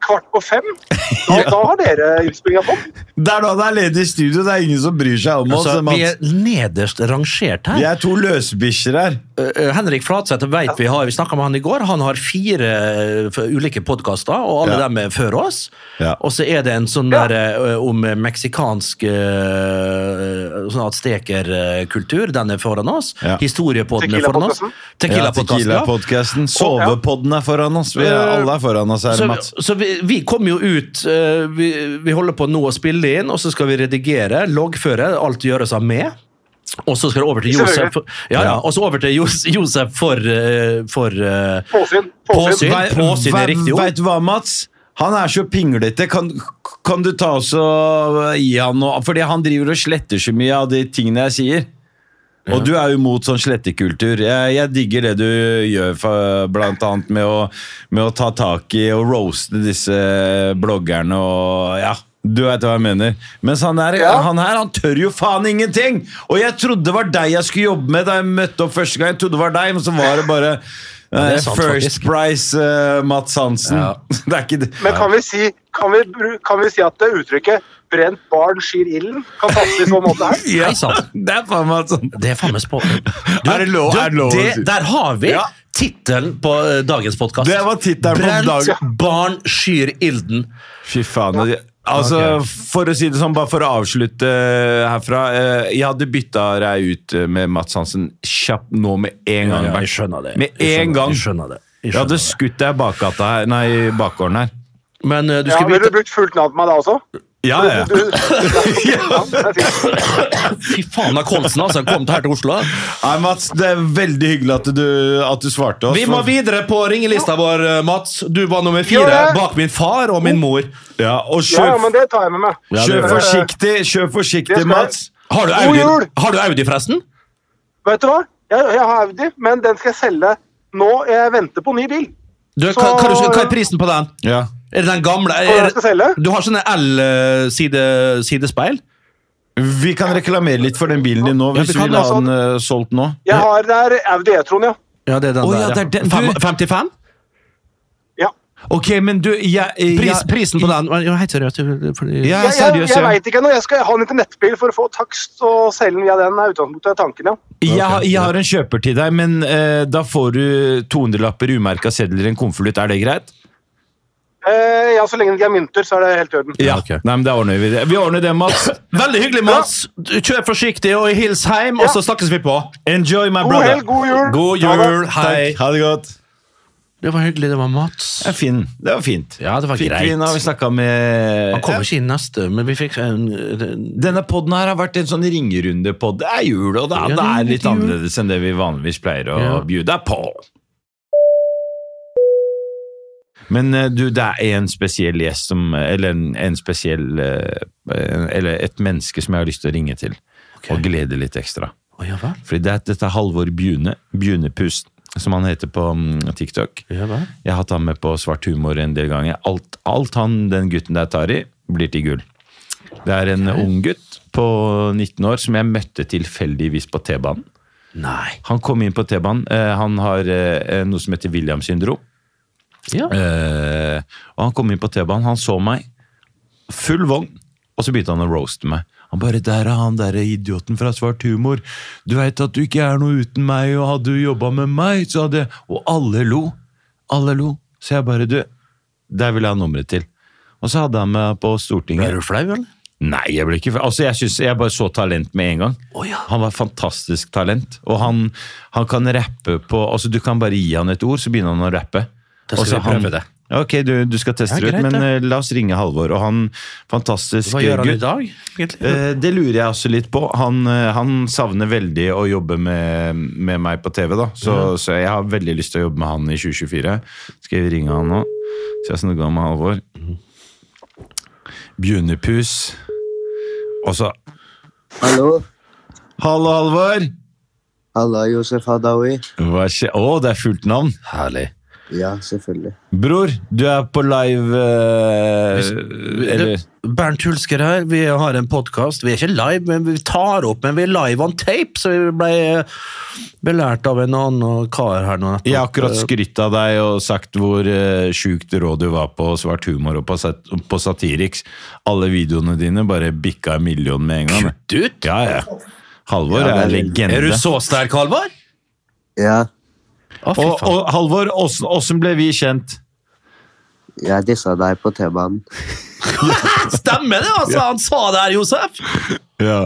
kvart på fem. Da, da har dere innspillinga på.
Det er da det er ledig studio, det er ingen som bryr seg om oss.
Altså, vi
Mats.
er nederst rangert her.
Vi er to løsbikkjer her.
Eh, Henrik Flatseth vet vi har, vi snakka med han i går. Han har fire eh, f- ulike podkaster, og alle
Ja.
dem er før oss.
Ja.
Og så er det en sånn
Ja.
der eh, om meksikansk eh, sånn aztekerkultur, den er foran oss.
Ja.
Historiepodden er foran oss.
Tequila-podcasten.
Tequila-podkasten. Ja, Eh,
Tequila-podcasten. Sovepodden er foran oss. Vi er, alle er foran oss her,
Så,
Mats.
så vi, vi kommer jo ut eh, vi, vi holder på nå å spille inn, og så skal vi redigere, loggføre. Alt gjøres av meg. Og så skal det over til
Selvfølgelig.
Josef for, ja, ja, og så over til Jos- Josef for, eh, for eh,
Påsyn. Påsyn.
Påsyn.
Vei-
Påsyn er
vei-
riktig ord.
Vet du hva, Mats? Han er så pinglete. Kan, kan du ta oss og gi han noe? Fordi han driver og sletter så mye av de tingene jeg sier. Og du er jo imot sånn slettekultur. Jeg, jeg digger det du gjør, for, blant annet med å, med å ta tak i og roaste disse bloggerne og ja. Du veit hva jeg mener. Mens han, er,
Ja.
han her, han tør jo faen ingenting! Og jeg trodde det var deg jeg skulle jobbe med da jeg møtte opp første gang. Jeg trodde det var deg, men så var det bare
det er
eh,
sant,
First
faktisk.
Price eh, Mats Hansen. Det er ikke det.
Men kan vi si, kan vi, bru- kan vi si at det uttrykket 'brent barn skyr ilden' kan passe i så måte her?
Nei sann.
Det er faen meg sånn.
Det er faen meg spå... Du,
Er det lov-
du,
er det lov å
det-
si?
Der har vi
Ja.
tittelen på eh, dagens podkast.
Det var tittelen på
Brent
dag-
barn skyr ilden.
Fy faen. Altså, For å si det sånn, bare for å avslutte herfra. eh, jeg hadde bytta deg ut eh, med Mats Hansen kjapt nå med en gang. Bernt.
jeg skjønner det.
Med
Jeg
en
skjønner-
gang.
Jeg skjønner det. Jeg
Jeg hadde
skjønner det.
skutt deg i bakgata her, nei, i bakgården her.
Men eh, du
Ja,
skal
Ville du
vite
brukt fullt navn på meg da også?
Ja, ja.
Du, ja, det er fint.
Fy faen, da Kolsen altså, kom her til Oslo.
Nei, Mats, det er veldig hyggelig at du, at du svarte oss.
Vi må
for-
videre på ringelista vår, eh, Mats. Du var nummer
Gjør
fire
det.
bak min far og
Oh.
min mor.
ja, og kjør,
ja, ja, men det tar jeg med meg.
kjør
det-
forsiktig, kjør
Det
forsiktig,
skal jeg.
Mats.
Har du
God
Audi,
jul!
har du Audi forresten?
Vet du hva? Jeg, jeg har Audi, men den skal jeg selge nå. Jeg venter på ny bil.
Du, hva, hva, er det- hva er prisen på den?
Ja.
Er det den gamle?
Eh,
Hva er det
Er,
jeg skal selge?
du har sånne eh, L-sidespeil?
Vi kan reklamere litt for den bilen din nå,
Ja,
hvis
vi
du
kan sånn-
vil
det.
ha den eh, solgt nå.
Jeg har der Audi E-tron, ja.
Ja, det er den
Å, ja, det er den. Du-
55?
ja.
Ok, men du jeg, jeg,
Pris, prisen på den Ja, helt seriøst.
Ja,
Jeg, jeg,
seriøst,
jeg
ja.
veit ikke ennå. Jeg skal ha en liten nettbil for å få takst og selge den via den. er utgangspunktet er tanken, ja.
Jeg, har- jeg har en kjøper til deg, men eh, da får du 200-lapper, umerka sedler, en konvolutt. Er det greit?
Eh, ja, så lenge det ikke er mynter, så er det helt i orden.
Ja.
ok.
Nei, men da ordner vi det. Vi ordner det, Mats.
Veldig hyggelig, Mats. Du Kjør forsiktig og hils hjem, og så snakkes vi på.
Enjoy, my
God
brother.
helg, god jul!
God
Ha det.
jul. Hei.
Ha det godt.
Det var hyggelig. Det var Mats.
Det, er fin. det var fint.
Ja, det var
Fikk
greit.
vi inn, har vi snakka med
Han kommer ikke inn neste, men vi fikk en
Denne podden her har vært en sånn ringerunde-podd. Det er jul, og det er,
Ja,
det
det er
er litt
jul.
annerledes enn det vi vanligvis pleier å
Ja.
bjude på. Men eh, du, det er en spesiell gjest som Eller en, en spesiell eh, Eller et menneske som jeg har lyst til å ringe til. Og glede litt ekstra.
Å, ja vel?
Fordi det, er- dette er Halvor Bjune. Bjunepust, som han heter på mm, TikTok.
Ja vel?
Jeg har hatt han med på svart humor en del ganger. Alt, alt han, den gutten der tar i, blir til gull. Det er en ung gutt på 19 år som jeg møtte tilfeldigvis på T-banen.
Nei.
Han kom inn på T-banen. eh, Han har eh, noe som heter Williams syndrom.
Ja.
Eh, og han kom inn på T-banen, han så meg. Full vogn. Og så begynte han å roaste meg. Han bare 'Der er han derre idioten fra Svart humor'. 'Du veit at du ikke er noe uten meg, og hadde du jobba med meg, så hadde jeg-» Og alle lo. Alle lo. Så jeg bare 'Du, der vil jeg ha nummeret til'. Og så hadde han meg på Stortinget.
Er du flau, eller?
Nei, jeg ble ikke Altså, jeg synes jeg bare så talent med en gang.
Å, ja.
Han var fantastisk talent. Og han, han kan rappe på Altså, du kan bare gi han et ord, så begynner han å rappe.
Da skal
Og så
vi prøve
han-
det.
Ok, du, du skal teste
Ja,
det ut, men
greit, det.
eh, la oss ringe Halvor. Og han fantastisk
Hva gjør han i
gutt.
dag, egentlig?
Eh, det lurer jeg også litt på. Han, eh, han savner veldig å jobbe med, med meg på TV, da. Så, så jeg har veldig lyst til å jobbe med han i 2024. Skal jeg ringe han nå? Så jeg snakka med Halvor. Bjørnepus. Og så
Hallo.
Hallo, Halvor!
Halla, Josef Hadaoui.
Hva skjer? Å, det er fullt navn.
Herlig.
Ja, selvfølgelig.
Bror, du er på live eh, Eller
Bernt Hulsker her. Vi har en podkast. Vi er ikke live, men vi tar opp. Men vi er live on tape, så vi ble belært av en annen kar her nå. nettopp.
Jeg har akkurat
eh,
skrytt av deg og sagt hvor eh, sjukt rå du var på svart humor og på, sat på Satiriks. Alle videoene dine bare bikka en million med en gang.
Kutt ut!
Ja, ja. Halvor
Ja,
er
det er-
legende.
Er du så sterk, Halvor?
Ja,
Å, fy
og,
faen.
og Halvor, åssen åssen ble vi kjent?
jeg dissa deg på T-banen.
Stemmer det, altså! Han sa det her, Josef!
Ja.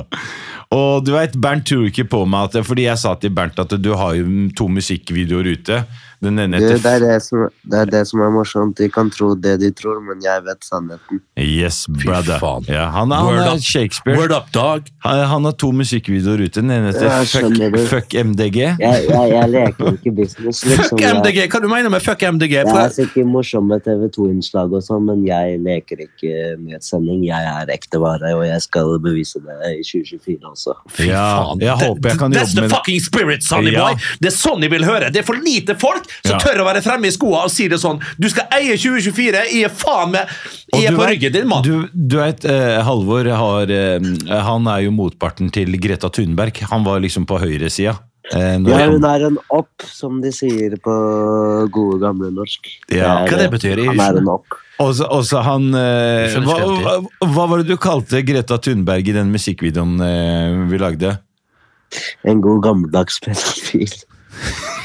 Og du vet, Bernt tror ikke på meg, at, fordi jeg sa til Bernt at du har jo to musikkvideoer ute. Den ene
Du, det, er
heter
det, som, det er det som er morsomt. De kan tro det de tror, men jeg vet sannheten.
Yes, brother.
faen.
Ja, han, er-
Word
han er
up.
Shakespeare.
Word up, dog.
Han, han har to musikkvideoer ute. Den ene heter
Ja, skjønner
fuck,
du.
fuck MDG.
Jeg, jeg, jeg leker ikke business, liksom. altså,
Fuck
Jeg,
MDG! Hva du mener med fuck MDG?
jeg
For
har sikkert morsomme TV2-innslag og sånn, men jeg leker ikke med sending. Jeg er ekte vare, og jeg skal bevise det i 2024 også.
Fy
Ja, jeg
faen. Det-
håper jeg kan jobbe med
That's the
det.
fucking spirit, Sonny
Ja.
boy! Det er sånn jeg vil høre! Det er for lite folk som
Ja.
tør å være fremme i skoa og si det sånn. Du skal eie 2024! Jeg er faen meg
Og
Jeg er
du
på
vet-
ryggen din, mann!
Du, du vet, eh, Halvor har, eh, han er jo motparten til Greta Thunberg. Han var liksom på høyresida. Eh, når
Ja,
han-
hun er en opp, som de sier på gode, gamle norsk.
Ja,
Det er eh,
hva det betyr i-
Han er en opp.
Og så- og så han eh,
Jeg skjønner
hva,
ikke
hva, hva var det du kalte Greta Thunberg i den musikkvideoen eh, vi lagde?
En god, gammeldags pedofil.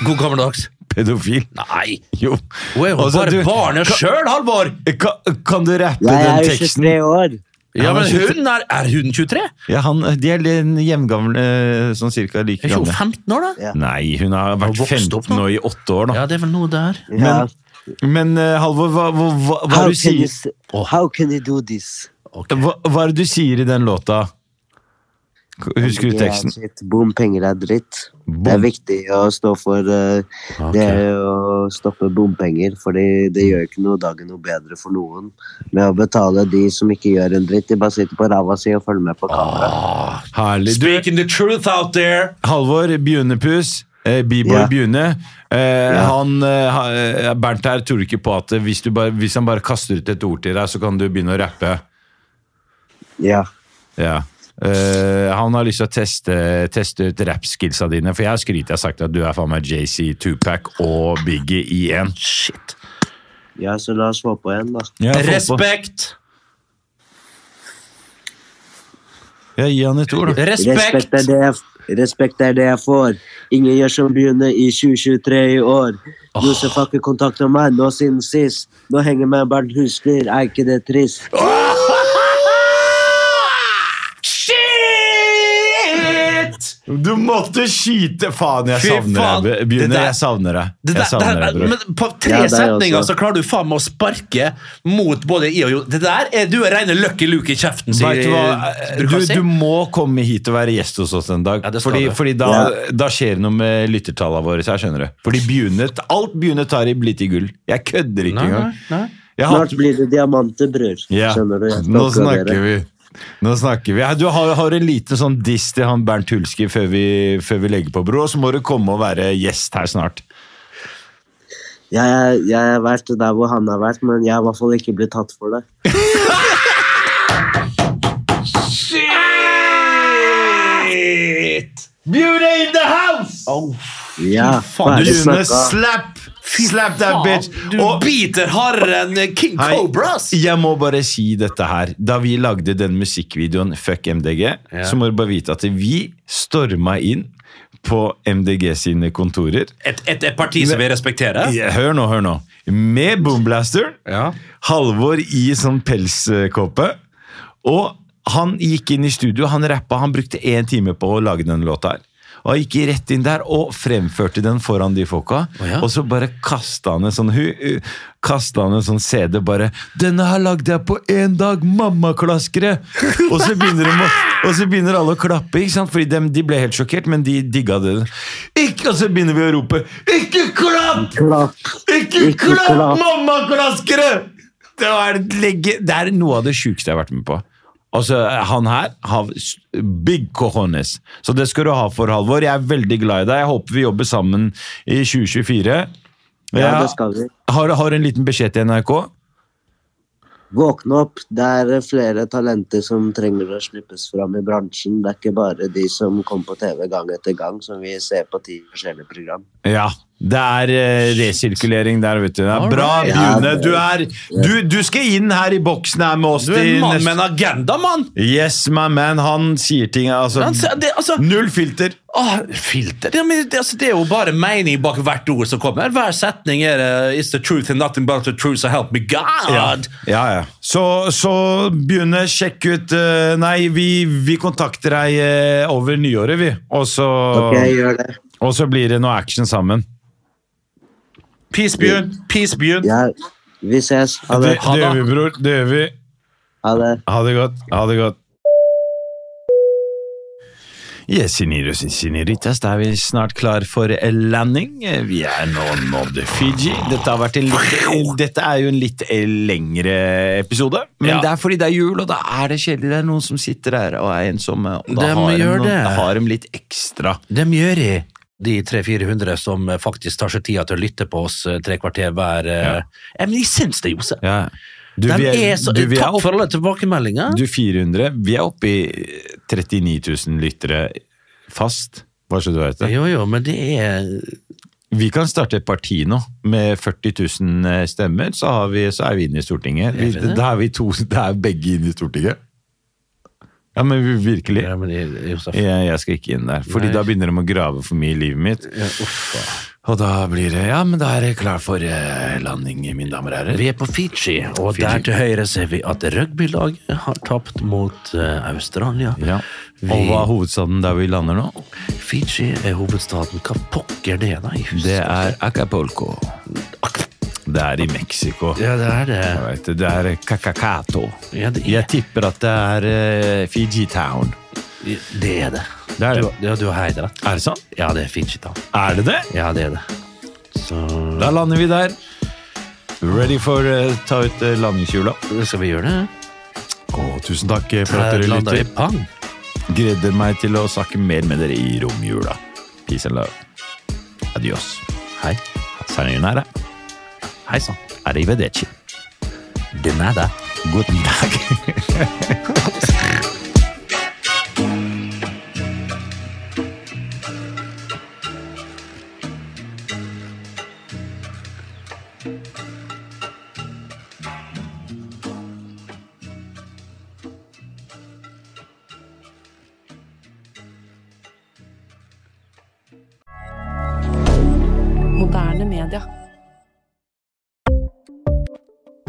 God gammeldags.
Pedofil?
Nei!
Jo.
Hun er jo
Altså,
bare
du-
barnet
Ka-
sjøl, Halvor!
Kan, kan du rappe
Jeg
den
er jo
teksten?
23 år.
Ja,
Ja,
men
men
hun er, er hun 23?
Ja, han, de er litt jevngamle, eh, sånn cirka like
Er ikke hun
gamle.
15 år, da?
Ja.
Nei, hun har
Hun har
vært
vokst opp
15
nå.
nå i åtte år, da.
Ja, det er vel noe der.
Ja.
Men eh, Halvor, hva, hva, hva, hva,
How
er det du
can, you,
sier,
s- how can you do this?
hva, hva er det du sier i den låta? Husker du teksten?
Ja, shit. Bom, penger er dritt. Det er viktig å stå for eh, det er å stoppe bompenger. fordi det gjør ikke noe dagen noe bedre for noen. Med å betale de som ikke gjør en dritt. De bare sitter på ræva si og følger med på kamera.
Herlig. Du,
Speaking the truth out there!
Halvor Bjørnepus. Eh, B-boy
Ja.
Bjørne. Eh, han, eh, ha- eh, Bernt her tror ikke på at eh, hvis, du bare, hvis han bare kaster ut et ord til deg, så kan du begynne å rappe.
Ja.
Ja. Eh, han har lyst til å teste, teste ut rappskillsa dine, for jeg skryter. Jeg har sagt at du er faen meg JC, Tupac og Biggie i én. Shit.
ja, så la oss få på igjen, da.
Respekt!
Ja, gi han et ord, da.
Respekt er,
Respekt!
det jeg, respekt er det jeg får. Ingen gjør som begynner i 2023 i år. Josef har ikke kontakta meg nå siden sist. Nå henger med Bernt Husker. Er ikke det trist?
Ah, Shit!
Du måtte skyte! Faen, jeg
Fy faen.
savner deg, Bjørne.
Det der-
Jeg savner deg.
Det der,
Jeg savner
det
deg,
her-
bror.
men på tre
Ja, det er
setninger
også.
så klarer du faen meg å sparke mot både i og jo. Det der er du er rene Lucky Luke i kjeften, sier
Vet du, hva? Du,
bruker han å si.
du må komme hit og være gjest hos oss en dag.
eh, Ja, det skal
fordi
du.
fordi da, da skjer det noe med lyttertallene våre. Så jeg skjønner det. Fordi begynnet, alt begynner tar i blitt i gull. Jeg kødder ikke
Nei,
engang.
nei, nei.
Jeg har-
Snart blir det diamanter, bror.
Ja,
Skjønner du? Jeg skal
Nå
oppgradere.
snakker vi. Nå snakker vi. Ja, Du har, har en liten sånn diss til han Bernt Hulski før vi, før vi legger på, bror. Og så må du komme og være gjest her snart.
Jeg, er- jeg har vært der hvor han har vært, men jeg har i hvert fall ikke blitt tatt for det.
Shit! Beauty in the house!
Ja,
faen,
ferdig
June,
snakka.
slap! Slap that bitch!
Du
Og
biter hardere enn King
Hei.
Cobras!
Jeg må bare si dette her. Da vi lagde den musikkvideoen Fuck MDG, så må du bare vite at vi storma inn på MDG sine kontorer.
Et, et, et parti som vi respekterer.
Ja, Hør nå, hør nå. Med boomblaster.
Ja.
Halvor i sånn pelskåpe. Og han gikk inn i studio, han rappa, han brukte én time på å lage den låta her. Og han gikk rett inn der og fremførte den foran de folka.
Å ja.
Og så bare kasta han en sånn hu, hu- kastet han en sånn CD bare 'Denne her lagde jeg på én dag, mammaklaskere!' og, så begynner de å, og så begynner alle å klappe, ikke sant? Fordi dem- de ble helt sjokkert, men de digga det. Ikke, og så begynner vi å rope 'Ikke klapp!'
Klapp.
Ikke
Ikke klapp, klapp.
mammaklaskere! Det, var et legge- det er noe av det sjukeste jeg har vært med på. Altså, Han her har s- big cojones. Så det skal du ha for, Halvor. Jeg er veldig glad i deg. Jeg håper vi jobber sammen i 2024.
Ja,
Jeg
det skal vi.
har, har en liten beskjed til NRK.
Våkne opp. Det er flere talenter som trenger å slippes fram i bransjen. Det er ikke bare de som kom på TV gang etter gang, som vi ser på ti forskjellige program.
Ja. Det er eh, resirkulering der, vet du. Det er bra,
Alright.
Bjune.
Ja,
Du, er, du, du skal inn her i boksen her med oss.
Du er
til
en mann
neste-
med en agenda, mann!
Yes, my man. Han sier ting altså,
Han sier- det- altså-
Null filter.
Ah, filter? Ja, men det, altså, det er jo bare mening bak hvert ord som kommer. Hver setning er eh, It's the truth and nothing but the truth, so help me God!
Ja, ja. Så, så begynne å sjekke ut eh, Nei, vi, vi kontakter deg eh, over nyåret, vi. Og så,
Ok, gjør det.
og så blir det noe action sammen.
Peace, Bjørn. Peace, Bjørn.
Ja, vi ses. Ha det.
Det, det gjør vi, bror. Det gjør vi.
Ha det.
Ha det godt. Ha det godt. Yes, Sinirus and Siniritas, da er vi snart klar for landing. Vi er nå nådd Fiji. Dette, har vært en litt, dette er jo en litt lengre episode, men
Ja.
det er fordi det er jul, og da er det kjedelig. Det er noen som sitter her og er ensomme, og da
Dem
har,
gjør
de,
det.
da har de litt ekstra.
Dem gjør jeg. De 300-400 som eh, faktisk tar seg tida til å lytte på oss eh, tre kvarter hver. eh.
Ja.
Ja, men jeg syns det, Josef.
Du,
Dem
vi
er, så,
du, vi er
takk
opp-
for alle tilbakemeldinger.
du 400, vi er oppe i 39 000 lyttere fast. Bare så du vet det.
Jo, jo, men det er
Vi kan starte et parti nå. Med 40 000 stemmer, så, har vi, så er vi inne i Stortinget. Vi,
Er vi det?
da er vi to, da er begge inne i Stortinget. Ja, men vi- virkelig.
ja, men, det- Josef.
Jeg, jeg skal ikke inn der, Fordi
Nei.
da begynner de å grave for mye i livet mitt. og da blir det Ja, men da er jeg klar for eh, landing, mine damer og herrer.
Vi er på Fiji, og der til høyre ser vi at rugbylaget har tapt mot eh, Australia.
Ja. Og hva er hovedstaden der vi lander nå?
Fiji er hovedstaden. Hva pokker det er, da? Jeg husker
Det er Acapulco. Det er i Mexico.
ikke. Ja, det er det.
Jeg vet, det. det er Kakakato.
Ja, det er.
Jeg tipper at det er eh, Fiji Town.
Det er det.
Det er det.
Du, ja, du har helt rett.
Er det sant?
Ja, det er fint skitt. da.
Er det det?
Ja, det er det. Så
Mm. Da lander vi der. Ready for eh, ta ut eh, landingshjula.
skal vi gjøre det.
Og tusen takk eh, for at
Her
dere
lander vi.
lytter.
Pang!
Gleder meg til å snakke mer med dere i romjula. Peace and love. Adios.
Hei.
Sayonara.
Hei sann.
Arrivederci.
Det er det.
Guten dag.
Moderne media.